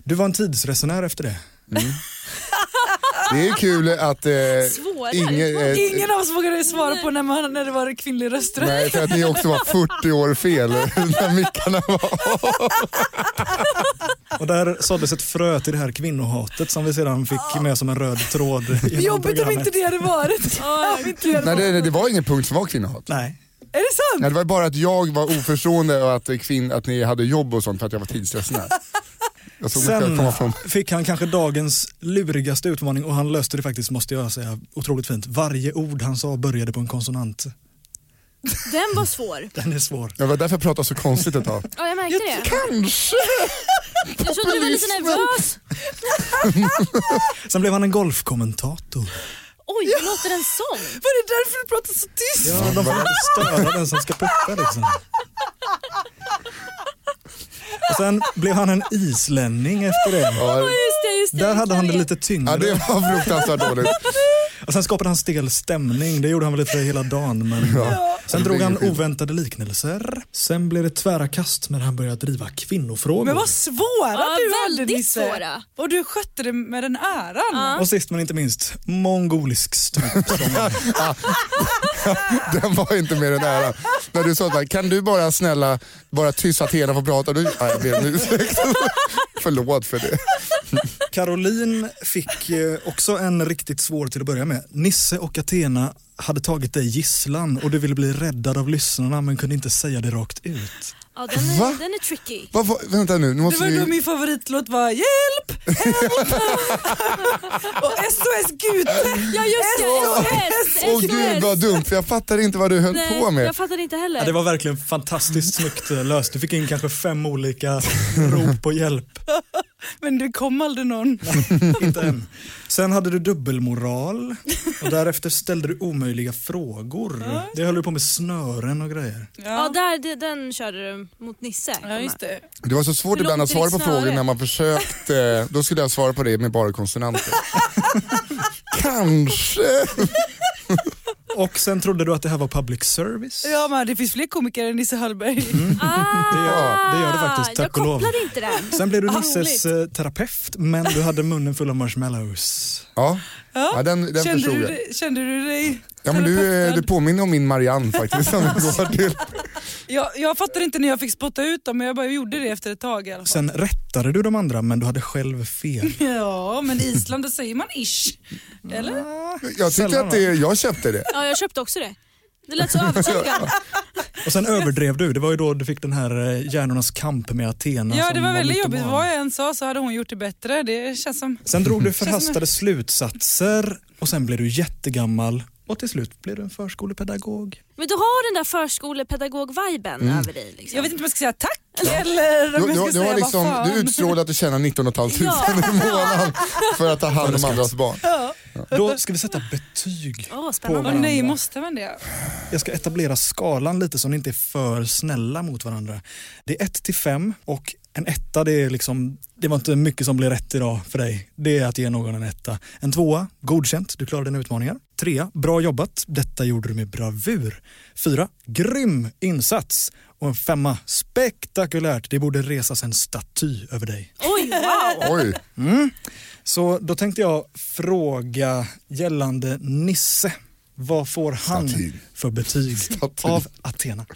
[SPEAKER 1] Du var en tidsresenär efter det.
[SPEAKER 3] Det är kul att... Eh,
[SPEAKER 4] Svårare.
[SPEAKER 3] ingen, eh,
[SPEAKER 2] Ingen av oss vågade svara på när, man, när det var kvinnlig rösträtt.
[SPEAKER 3] Nej, för att ni också var 40 år fel när mickarna var
[SPEAKER 1] Och där såddes ett frö till det här kvinnohatet som vi sedan fick med som en röd tråd genom
[SPEAKER 2] Ah. Jobbigt om
[SPEAKER 1] programmet.
[SPEAKER 2] inte det hade varit. Om inte det hade
[SPEAKER 3] Nej
[SPEAKER 2] varit.
[SPEAKER 3] det, det var ingen punkt som var kvinnohat.
[SPEAKER 1] Nej,
[SPEAKER 2] Är det sant?
[SPEAKER 3] Nej, det var bara att jag var oförstående och att, eh, kvinn, att ni hade jobb och sånt för att jag var tidsresenär. Jag såg Sen...
[SPEAKER 1] Sen
[SPEAKER 3] komma från...
[SPEAKER 1] fick han kanske dagens lurigaste utmaning och han löste det faktiskt, måste jag säga, otroligt fint. Varje ord han sa började på en konsonant.
[SPEAKER 4] Den var svår.
[SPEAKER 1] Den är svår.
[SPEAKER 3] Det var därför jag pratade så konstigt ett tag.
[SPEAKER 4] Ja jag märkte det.
[SPEAKER 3] Kanske!
[SPEAKER 4] Jag trodde du var lite nervös.
[SPEAKER 1] Sen blev han en golfkommentator.
[SPEAKER 4] Oj, hur låter en sån?
[SPEAKER 2] Var det därför du pratade så tyst?
[SPEAKER 1] Ja, de får inte störa den som ska putta liksom. Och sen blev han en islänning efter det.
[SPEAKER 3] Ja,
[SPEAKER 4] Just det, just det.
[SPEAKER 1] Där hade han det
[SPEAKER 4] klaver.
[SPEAKER 1] lite
[SPEAKER 3] ja, det
[SPEAKER 1] tyngre.
[SPEAKER 3] var fruktansvärt dåligt.
[SPEAKER 1] Och sen skapade han stel stämning. Det gjorde han väl lite hela dagen. Men... Sen drog han oväntade liknelser. Sen blev det tvära kast när han började driva kvinnofrågor.
[SPEAKER 2] Men vad svåra
[SPEAKER 4] Ja,
[SPEAKER 2] du hade
[SPEAKER 4] väldigt
[SPEAKER 2] Nisse.
[SPEAKER 4] svåra.
[SPEAKER 2] Och du skötte det med den äran.
[SPEAKER 1] Och sist men inte minst, mongolisk strupsång.
[SPEAKER 3] Den var inte mer än äran. När du sa att kan du bara snälla bara tyst så att hela får prata? Du, nej, jag ber om ursäkt. Förlåt för det.
[SPEAKER 1] Caroline fick eh, också en riktigt svår till att börja med. Nisse och Athena hade tagit dig gisslan och du ville bli räddad av lyssnarna men kunde inte säga det rakt ut.
[SPEAKER 4] Ja, den, är,
[SPEAKER 3] Va?
[SPEAKER 4] den är tricky.
[SPEAKER 3] Vad var- vänta nu, nu
[SPEAKER 2] Det
[SPEAKER 3] måste
[SPEAKER 2] var då
[SPEAKER 3] vi...
[SPEAKER 2] min favoritlåt var Hjälp! Help! Och SOS Gute!
[SPEAKER 4] Ja just det, SOS!
[SPEAKER 3] Åh gud vad dumt, för jag fattade inte vad du höll
[SPEAKER 4] Nej,
[SPEAKER 3] på med.
[SPEAKER 4] jag fattar inte
[SPEAKER 1] Ja,
[SPEAKER 4] heller.
[SPEAKER 1] det var verkligen fantastiskt snyggt eh, löst. Du fick in kanske fem olika rop på hjälp.
[SPEAKER 2] Men det kom aldrig någon.
[SPEAKER 1] Inte än. Sen hade du dubbelmoral och därefter ställde du omöjliga frågor. Det höll du på med snören och grejer.
[SPEAKER 4] Ja, där, det- den körde du mot Nisse.
[SPEAKER 2] Ja, just det.
[SPEAKER 3] Det var så svårt
[SPEAKER 4] Hur
[SPEAKER 3] ibland att
[SPEAKER 4] långt är
[SPEAKER 3] svara på
[SPEAKER 4] det
[SPEAKER 3] frågor
[SPEAKER 4] snöre?
[SPEAKER 3] när man försökte. Då skulle jag svara på det med bara konsonanter. Kanske.
[SPEAKER 1] Och sen trodde du att det här var public service.
[SPEAKER 2] Ja, men det finns fler komiker än Nisse Hallberg.
[SPEAKER 3] Mm,
[SPEAKER 4] Ah,
[SPEAKER 1] Det gör- det gör det faktiskt,
[SPEAKER 4] jag
[SPEAKER 1] tack och lov.
[SPEAKER 4] kopplade inte den.
[SPEAKER 1] Sen blev du
[SPEAKER 2] Ah,
[SPEAKER 1] Nisses eh, terapeut men du hade munnen full av marshmallows.
[SPEAKER 3] Ja, ja den, den
[SPEAKER 2] kände,
[SPEAKER 3] förstod
[SPEAKER 2] du,
[SPEAKER 3] jag.
[SPEAKER 2] dig- kände du dig
[SPEAKER 3] Ja, men du, eh,
[SPEAKER 2] terapeutad?
[SPEAKER 3] du påminner om min Marianne faktiskt. Som går till.
[SPEAKER 2] jag, jag fattade inte när jag fick spotta ut dem, men jag bara gjorde det efter ett tag i alla fall.
[SPEAKER 1] Sen rättade du de andra men du hade själv fel.
[SPEAKER 2] Ja, men i Island då säger man ish. Eller?
[SPEAKER 3] Jag tyckte
[SPEAKER 1] Sällan,
[SPEAKER 3] att det, jag köpte det.
[SPEAKER 4] Ja, jag köpte också det. Det lät så övertygande.
[SPEAKER 1] Och sen överdrev du. Det var ju då du fick den här eh, hjärnornas kamp med Athena.
[SPEAKER 2] Ja,
[SPEAKER 1] som
[SPEAKER 2] det var väldigt
[SPEAKER 1] mytoman.
[SPEAKER 2] jobbigt. Vad jag än sa så hade hon gjort det bättre. Det känns som...
[SPEAKER 1] Sen drog du förhastade slutsatser och sen blev du jättegammal och till slut blev du en förskolepedagog.
[SPEAKER 4] Men du har den där förskolepedagog-viben
[SPEAKER 1] Mm.
[SPEAKER 4] över dig. Liksom.
[SPEAKER 2] Jag vet inte om jag ska säga tack eller
[SPEAKER 3] Du,
[SPEAKER 2] om
[SPEAKER 3] du,
[SPEAKER 2] jag ska
[SPEAKER 3] du,
[SPEAKER 2] säga
[SPEAKER 3] har
[SPEAKER 2] vad
[SPEAKER 3] liksom,
[SPEAKER 2] fan.
[SPEAKER 3] du utstrålade att du tjänar 19 500 i månaden för att ta hand om andras barn.
[SPEAKER 1] Då ska vi sätta betyg
[SPEAKER 4] Åh,
[SPEAKER 1] på
[SPEAKER 4] spännande.
[SPEAKER 1] varandra.
[SPEAKER 2] Åh
[SPEAKER 1] Liksom.
[SPEAKER 2] nej, måste man det?
[SPEAKER 1] Jag ska etablera skalan lite så ni inte är för snälla mot varandra. Det är 1 till 5 och en etta det är liksom, det var inte mycket som blev rätt idag för dig. Det är att ge någon en etta. En tvåa, godkänt, du klarade dina utmaningar. Trea, bra jobbat, detta gjorde du med bravur. Fyra, grym insats. Och en femma, spektakulärt, det borde resas en staty över dig.
[SPEAKER 4] Oj, wow.
[SPEAKER 3] Oj,
[SPEAKER 1] Så då tänkte jag fråga gällande Nisse. Vad får han
[SPEAKER 3] Staty.
[SPEAKER 1] för betyg
[SPEAKER 3] Staty.
[SPEAKER 1] av Athena?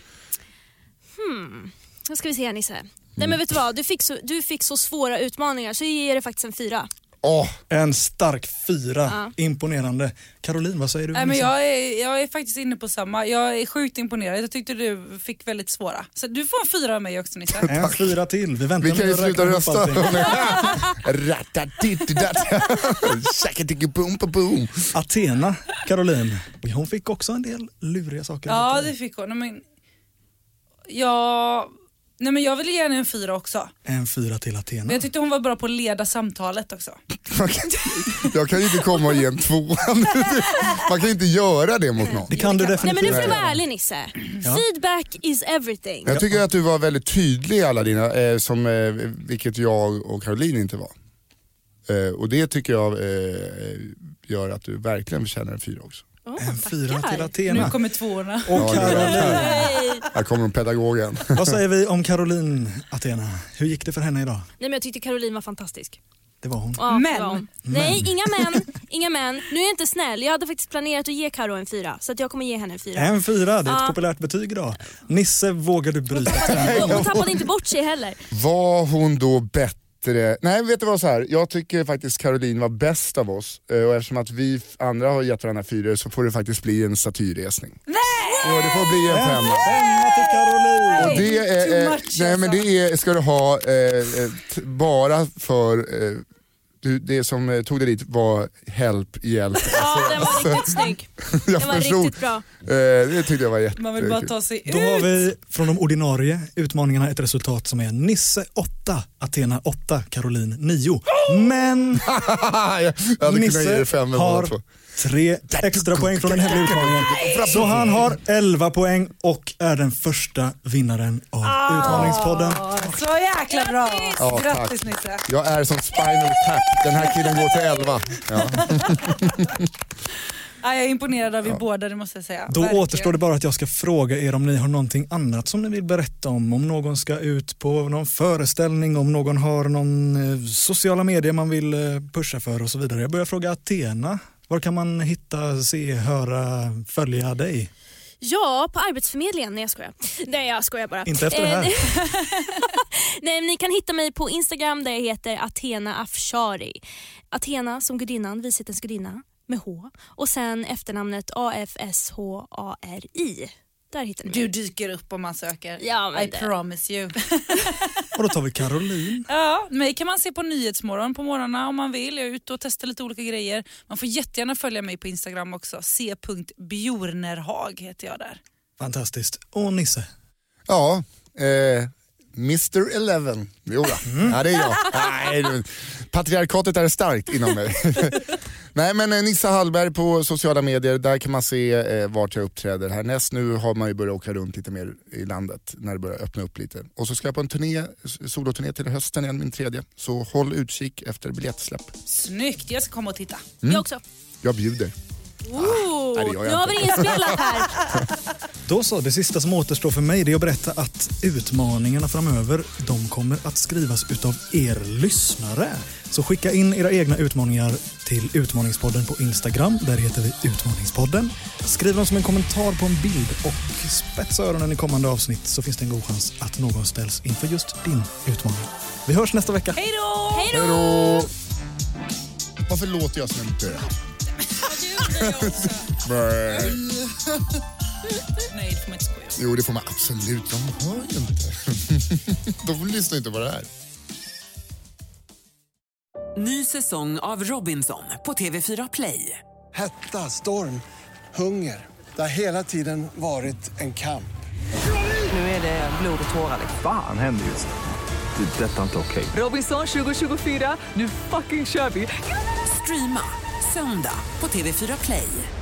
[SPEAKER 4] Nu ska vi se här Nisse.
[SPEAKER 1] Mm.
[SPEAKER 4] Nej men vet du vad, du fick så, du fick så svåra utmaningar så jag ger dig faktiskt en fyra.
[SPEAKER 3] åh,
[SPEAKER 1] En stark fyra.
[SPEAKER 4] Ja.
[SPEAKER 1] Imponerande. Caroline, vad säger du?
[SPEAKER 2] Nej, men
[SPEAKER 1] Lisa?
[SPEAKER 2] jag, är, jag är faktiskt inne på samma. Jag är sjukt imponerad. Jag tyckte du fick väldigt svåra. Så du får en fyra av mig också Nisse.
[SPEAKER 1] En fyra till. Vi väntar
[SPEAKER 3] vi kan ju
[SPEAKER 1] med att räkna
[SPEAKER 3] sluta
[SPEAKER 1] ihop
[SPEAKER 3] rösta.
[SPEAKER 1] allting.
[SPEAKER 3] Ratatididat. Shackatiki-boom-pa-boom.
[SPEAKER 1] Athena, Caroline, hon fick också en del luriga saker.
[SPEAKER 2] Ja, det fick hon. Nej, Men, ja, nej, men jag vill ge henne en fyra också.
[SPEAKER 1] En fyra till Athena.
[SPEAKER 2] Men jag tyckte hon var bra på att leda samtalet också.
[SPEAKER 3] Man kan- Jag kan ju inte komma och ge en tvåa. Man kan ju inte göra det mot någon.
[SPEAKER 1] Det kan du
[SPEAKER 4] Nej
[SPEAKER 1] definitivt.
[SPEAKER 4] men nu får du vara ärlig Nisse. Feedback is everything.
[SPEAKER 3] Jag tycker att du var väldigt tydlig i alla dina, eh, som, eh, vilket jag och Caroline inte var. Eh, och det tycker jag eh, gör att du verkligen förtjänar en fyra också.
[SPEAKER 4] Åh,
[SPEAKER 1] En fyra
[SPEAKER 4] tackar.
[SPEAKER 1] till
[SPEAKER 2] Nu
[SPEAKER 1] Athena.
[SPEAKER 2] kommer tvåorna.
[SPEAKER 1] Och Caroline.
[SPEAKER 4] Nej.
[SPEAKER 3] Här kommer pedagogen.
[SPEAKER 1] Vad säger vi om Caroline, Athena? Hur gick det för henne idag?
[SPEAKER 4] Nej men jag tyckte Caroline var fantastisk.
[SPEAKER 1] Det var hon.
[SPEAKER 4] Ja,
[SPEAKER 2] Men.
[SPEAKER 4] det var hon. Nej, inga men. Inga men. Nu är jag inte snäll. Jag hade faktiskt planerat att ge Karo en fyra så att jag kommer ge henne en fyra.
[SPEAKER 1] En fyra, det är ett
[SPEAKER 4] Ja.
[SPEAKER 1] populärt betyg idag. Nisse, vågar du bryta trenden?
[SPEAKER 4] Och hon tappade inte bort sig heller.
[SPEAKER 3] Var hon då bättre? Nej vet du vad, så här. jag tycker faktiskt Caroline var bäst av oss eh, och eftersom att vi f- andra har gett varandra fyror så får det faktiskt bli en statyresning. Nej! Jo, det får bli en femma.
[SPEAKER 1] Femma till Caroline!
[SPEAKER 3] Och det
[SPEAKER 2] too
[SPEAKER 3] är, eh,
[SPEAKER 2] much,
[SPEAKER 3] nej
[SPEAKER 2] alltså.
[SPEAKER 3] men det är, ska du ha eh, eh, t- bara för eh, du, det som eh, tog dig dit var help, hjälp.
[SPEAKER 4] Ja, den var riktigt snygg.
[SPEAKER 3] Alltså, jag
[SPEAKER 4] Den var riktigt bra.
[SPEAKER 3] Eh, det tyckte jag var jättekul.
[SPEAKER 2] Man vill bara ta sig
[SPEAKER 1] Då har
[SPEAKER 2] ut.
[SPEAKER 1] vi från de ordinarie utmaningarna ett resultat som är Nisse 8, Athena 8, Caroline 9. Men
[SPEAKER 3] Oh! jag hade kunnat ge
[SPEAKER 1] Nisse
[SPEAKER 3] dig fem
[SPEAKER 1] har
[SPEAKER 3] har...
[SPEAKER 1] tre extra poäng från den hemliga utmaningen. Så han har 11 poäng och är den första vinnaren av
[SPEAKER 3] Ah!
[SPEAKER 1] Utmaningspodden.
[SPEAKER 2] Så jäkla bra.
[SPEAKER 3] Ja, tack.
[SPEAKER 2] Grattis Nisse.
[SPEAKER 3] Jag är som Spinal Tap, den här killen går till elva. Ja.
[SPEAKER 2] Ja, jag är imponerad av er båda, det måste jag säga.
[SPEAKER 1] Då
[SPEAKER 2] Verkligen.
[SPEAKER 1] återstår det bara att jag ska fråga er om ni har någonting annat som ni vill berätta om. Om någon ska ut på någon föreställning, om någon har någon eh, sociala medier man vill eh, pusha för och så vidare. Jag börjar fråga Athena. Var kan man hitta, se, höra, följa dig?
[SPEAKER 4] Ja, på Arbetsförmedlingen. Nej jag skojar. Nej jag skojar bara.
[SPEAKER 1] Inte efter det här.
[SPEAKER 4] Eh, Nej, men ni kan hitta mig på Instagram där jag heter Athena Afshari. Athena som gudinnan, vishetens gudinna med H och sen efternamnet A-F-S-H-A-R-I. Där hittar ni
[SPEAKER 2] Du
[SPEAKER 4] mig.
[SPEAKER 2] dyker upp om man söker.
[SPEAKER 4] Ja, men
[SPEAKER 2] I
[SPEAKER 4] det-
[SPEAKER 2] promise you.
[SPEAKER 1] Och då tar vi Caroline.
[SPEAKER 2] ja, mig kan man se på Nyhetsmorgon på morgnarna om man vill. Jag är ute och testar lite olika grejer. Man får jättegärna följa mig på Instagram också. c.bjornerhag heter jag där.
[SPEAKER 1] Fantastiskt. Och Nisse.
[SPEAKER 3] Ja, eh, Mr Eleven. Jo, då.
[SPEAKER 4] Mm.
[SPEAKER 3] ja, det är jag. Nej, du- patriarkatet är starkt inom mig. Nej men eh, Nissa Hallberg på sociala medier, där kan man se eh, vart jag uppträder härnäst. Nu har man ju börjat åka runt lite mer i landet när det börjar öppna upp lite. Och så ska jag på en turné, s- soloturné till hösten igen, min tredje. Så håll utkik efter biljettsläpp.
[SPEAKER 2] Snyggt, jag ska komma och titta.
[SPEAKER 4] Jag också.
[SPEAKER 3] Jag bjuder.
[SPEAKER 4] Ooh,
[SPEAKER 3] Mm. nej, det gör jag
[SPEAKER 4] nu har
[SPEAKER 3] inte.
[SPEAKER 4] vi inspelat här.
[SPEAKER 1] Då så, det sista som återstår för mig det är att berätta att utmaningarna framöver de kommer att skrivas utav er lyssnare. Så skicka in era egna utmaningar till Utmaningspodden på Instagram. Där heter vi Utmaningspodden. Skriv dem som en kommentar på en bild och spetsa öronen i kommande avsnitt så finns det en god chans att någon ställs inför just din utmaning. Vi hörs nästa vecka.
[SPEAKER 2] Hej då!
[SPEAKER 4] Hej då!
[SPEAKER 3] Hejdå! Varför låter jag som en död? Brr.
[SPEAKER 2] Nej, det får man inte skoja om.
[SPEAKER 3] Jo det får man absolut, de hör ju inte. de lyssnar inte på det här.
[SPEAKER 5] Ny säsong av Robinson på TV4 Play.
[SPEAKER 9] Hetta, storm, hunger. Det har hela tiden varit en kamp.
[SPEAKER 5] Nu är det blod och tårar. liksom.
[SPEAKER 10] Fan händer just det. Det är detta inte okej.
[SPEAKER 5] Robinson 2024, nu fucking kör vi! Streama söndag på TV4 Play.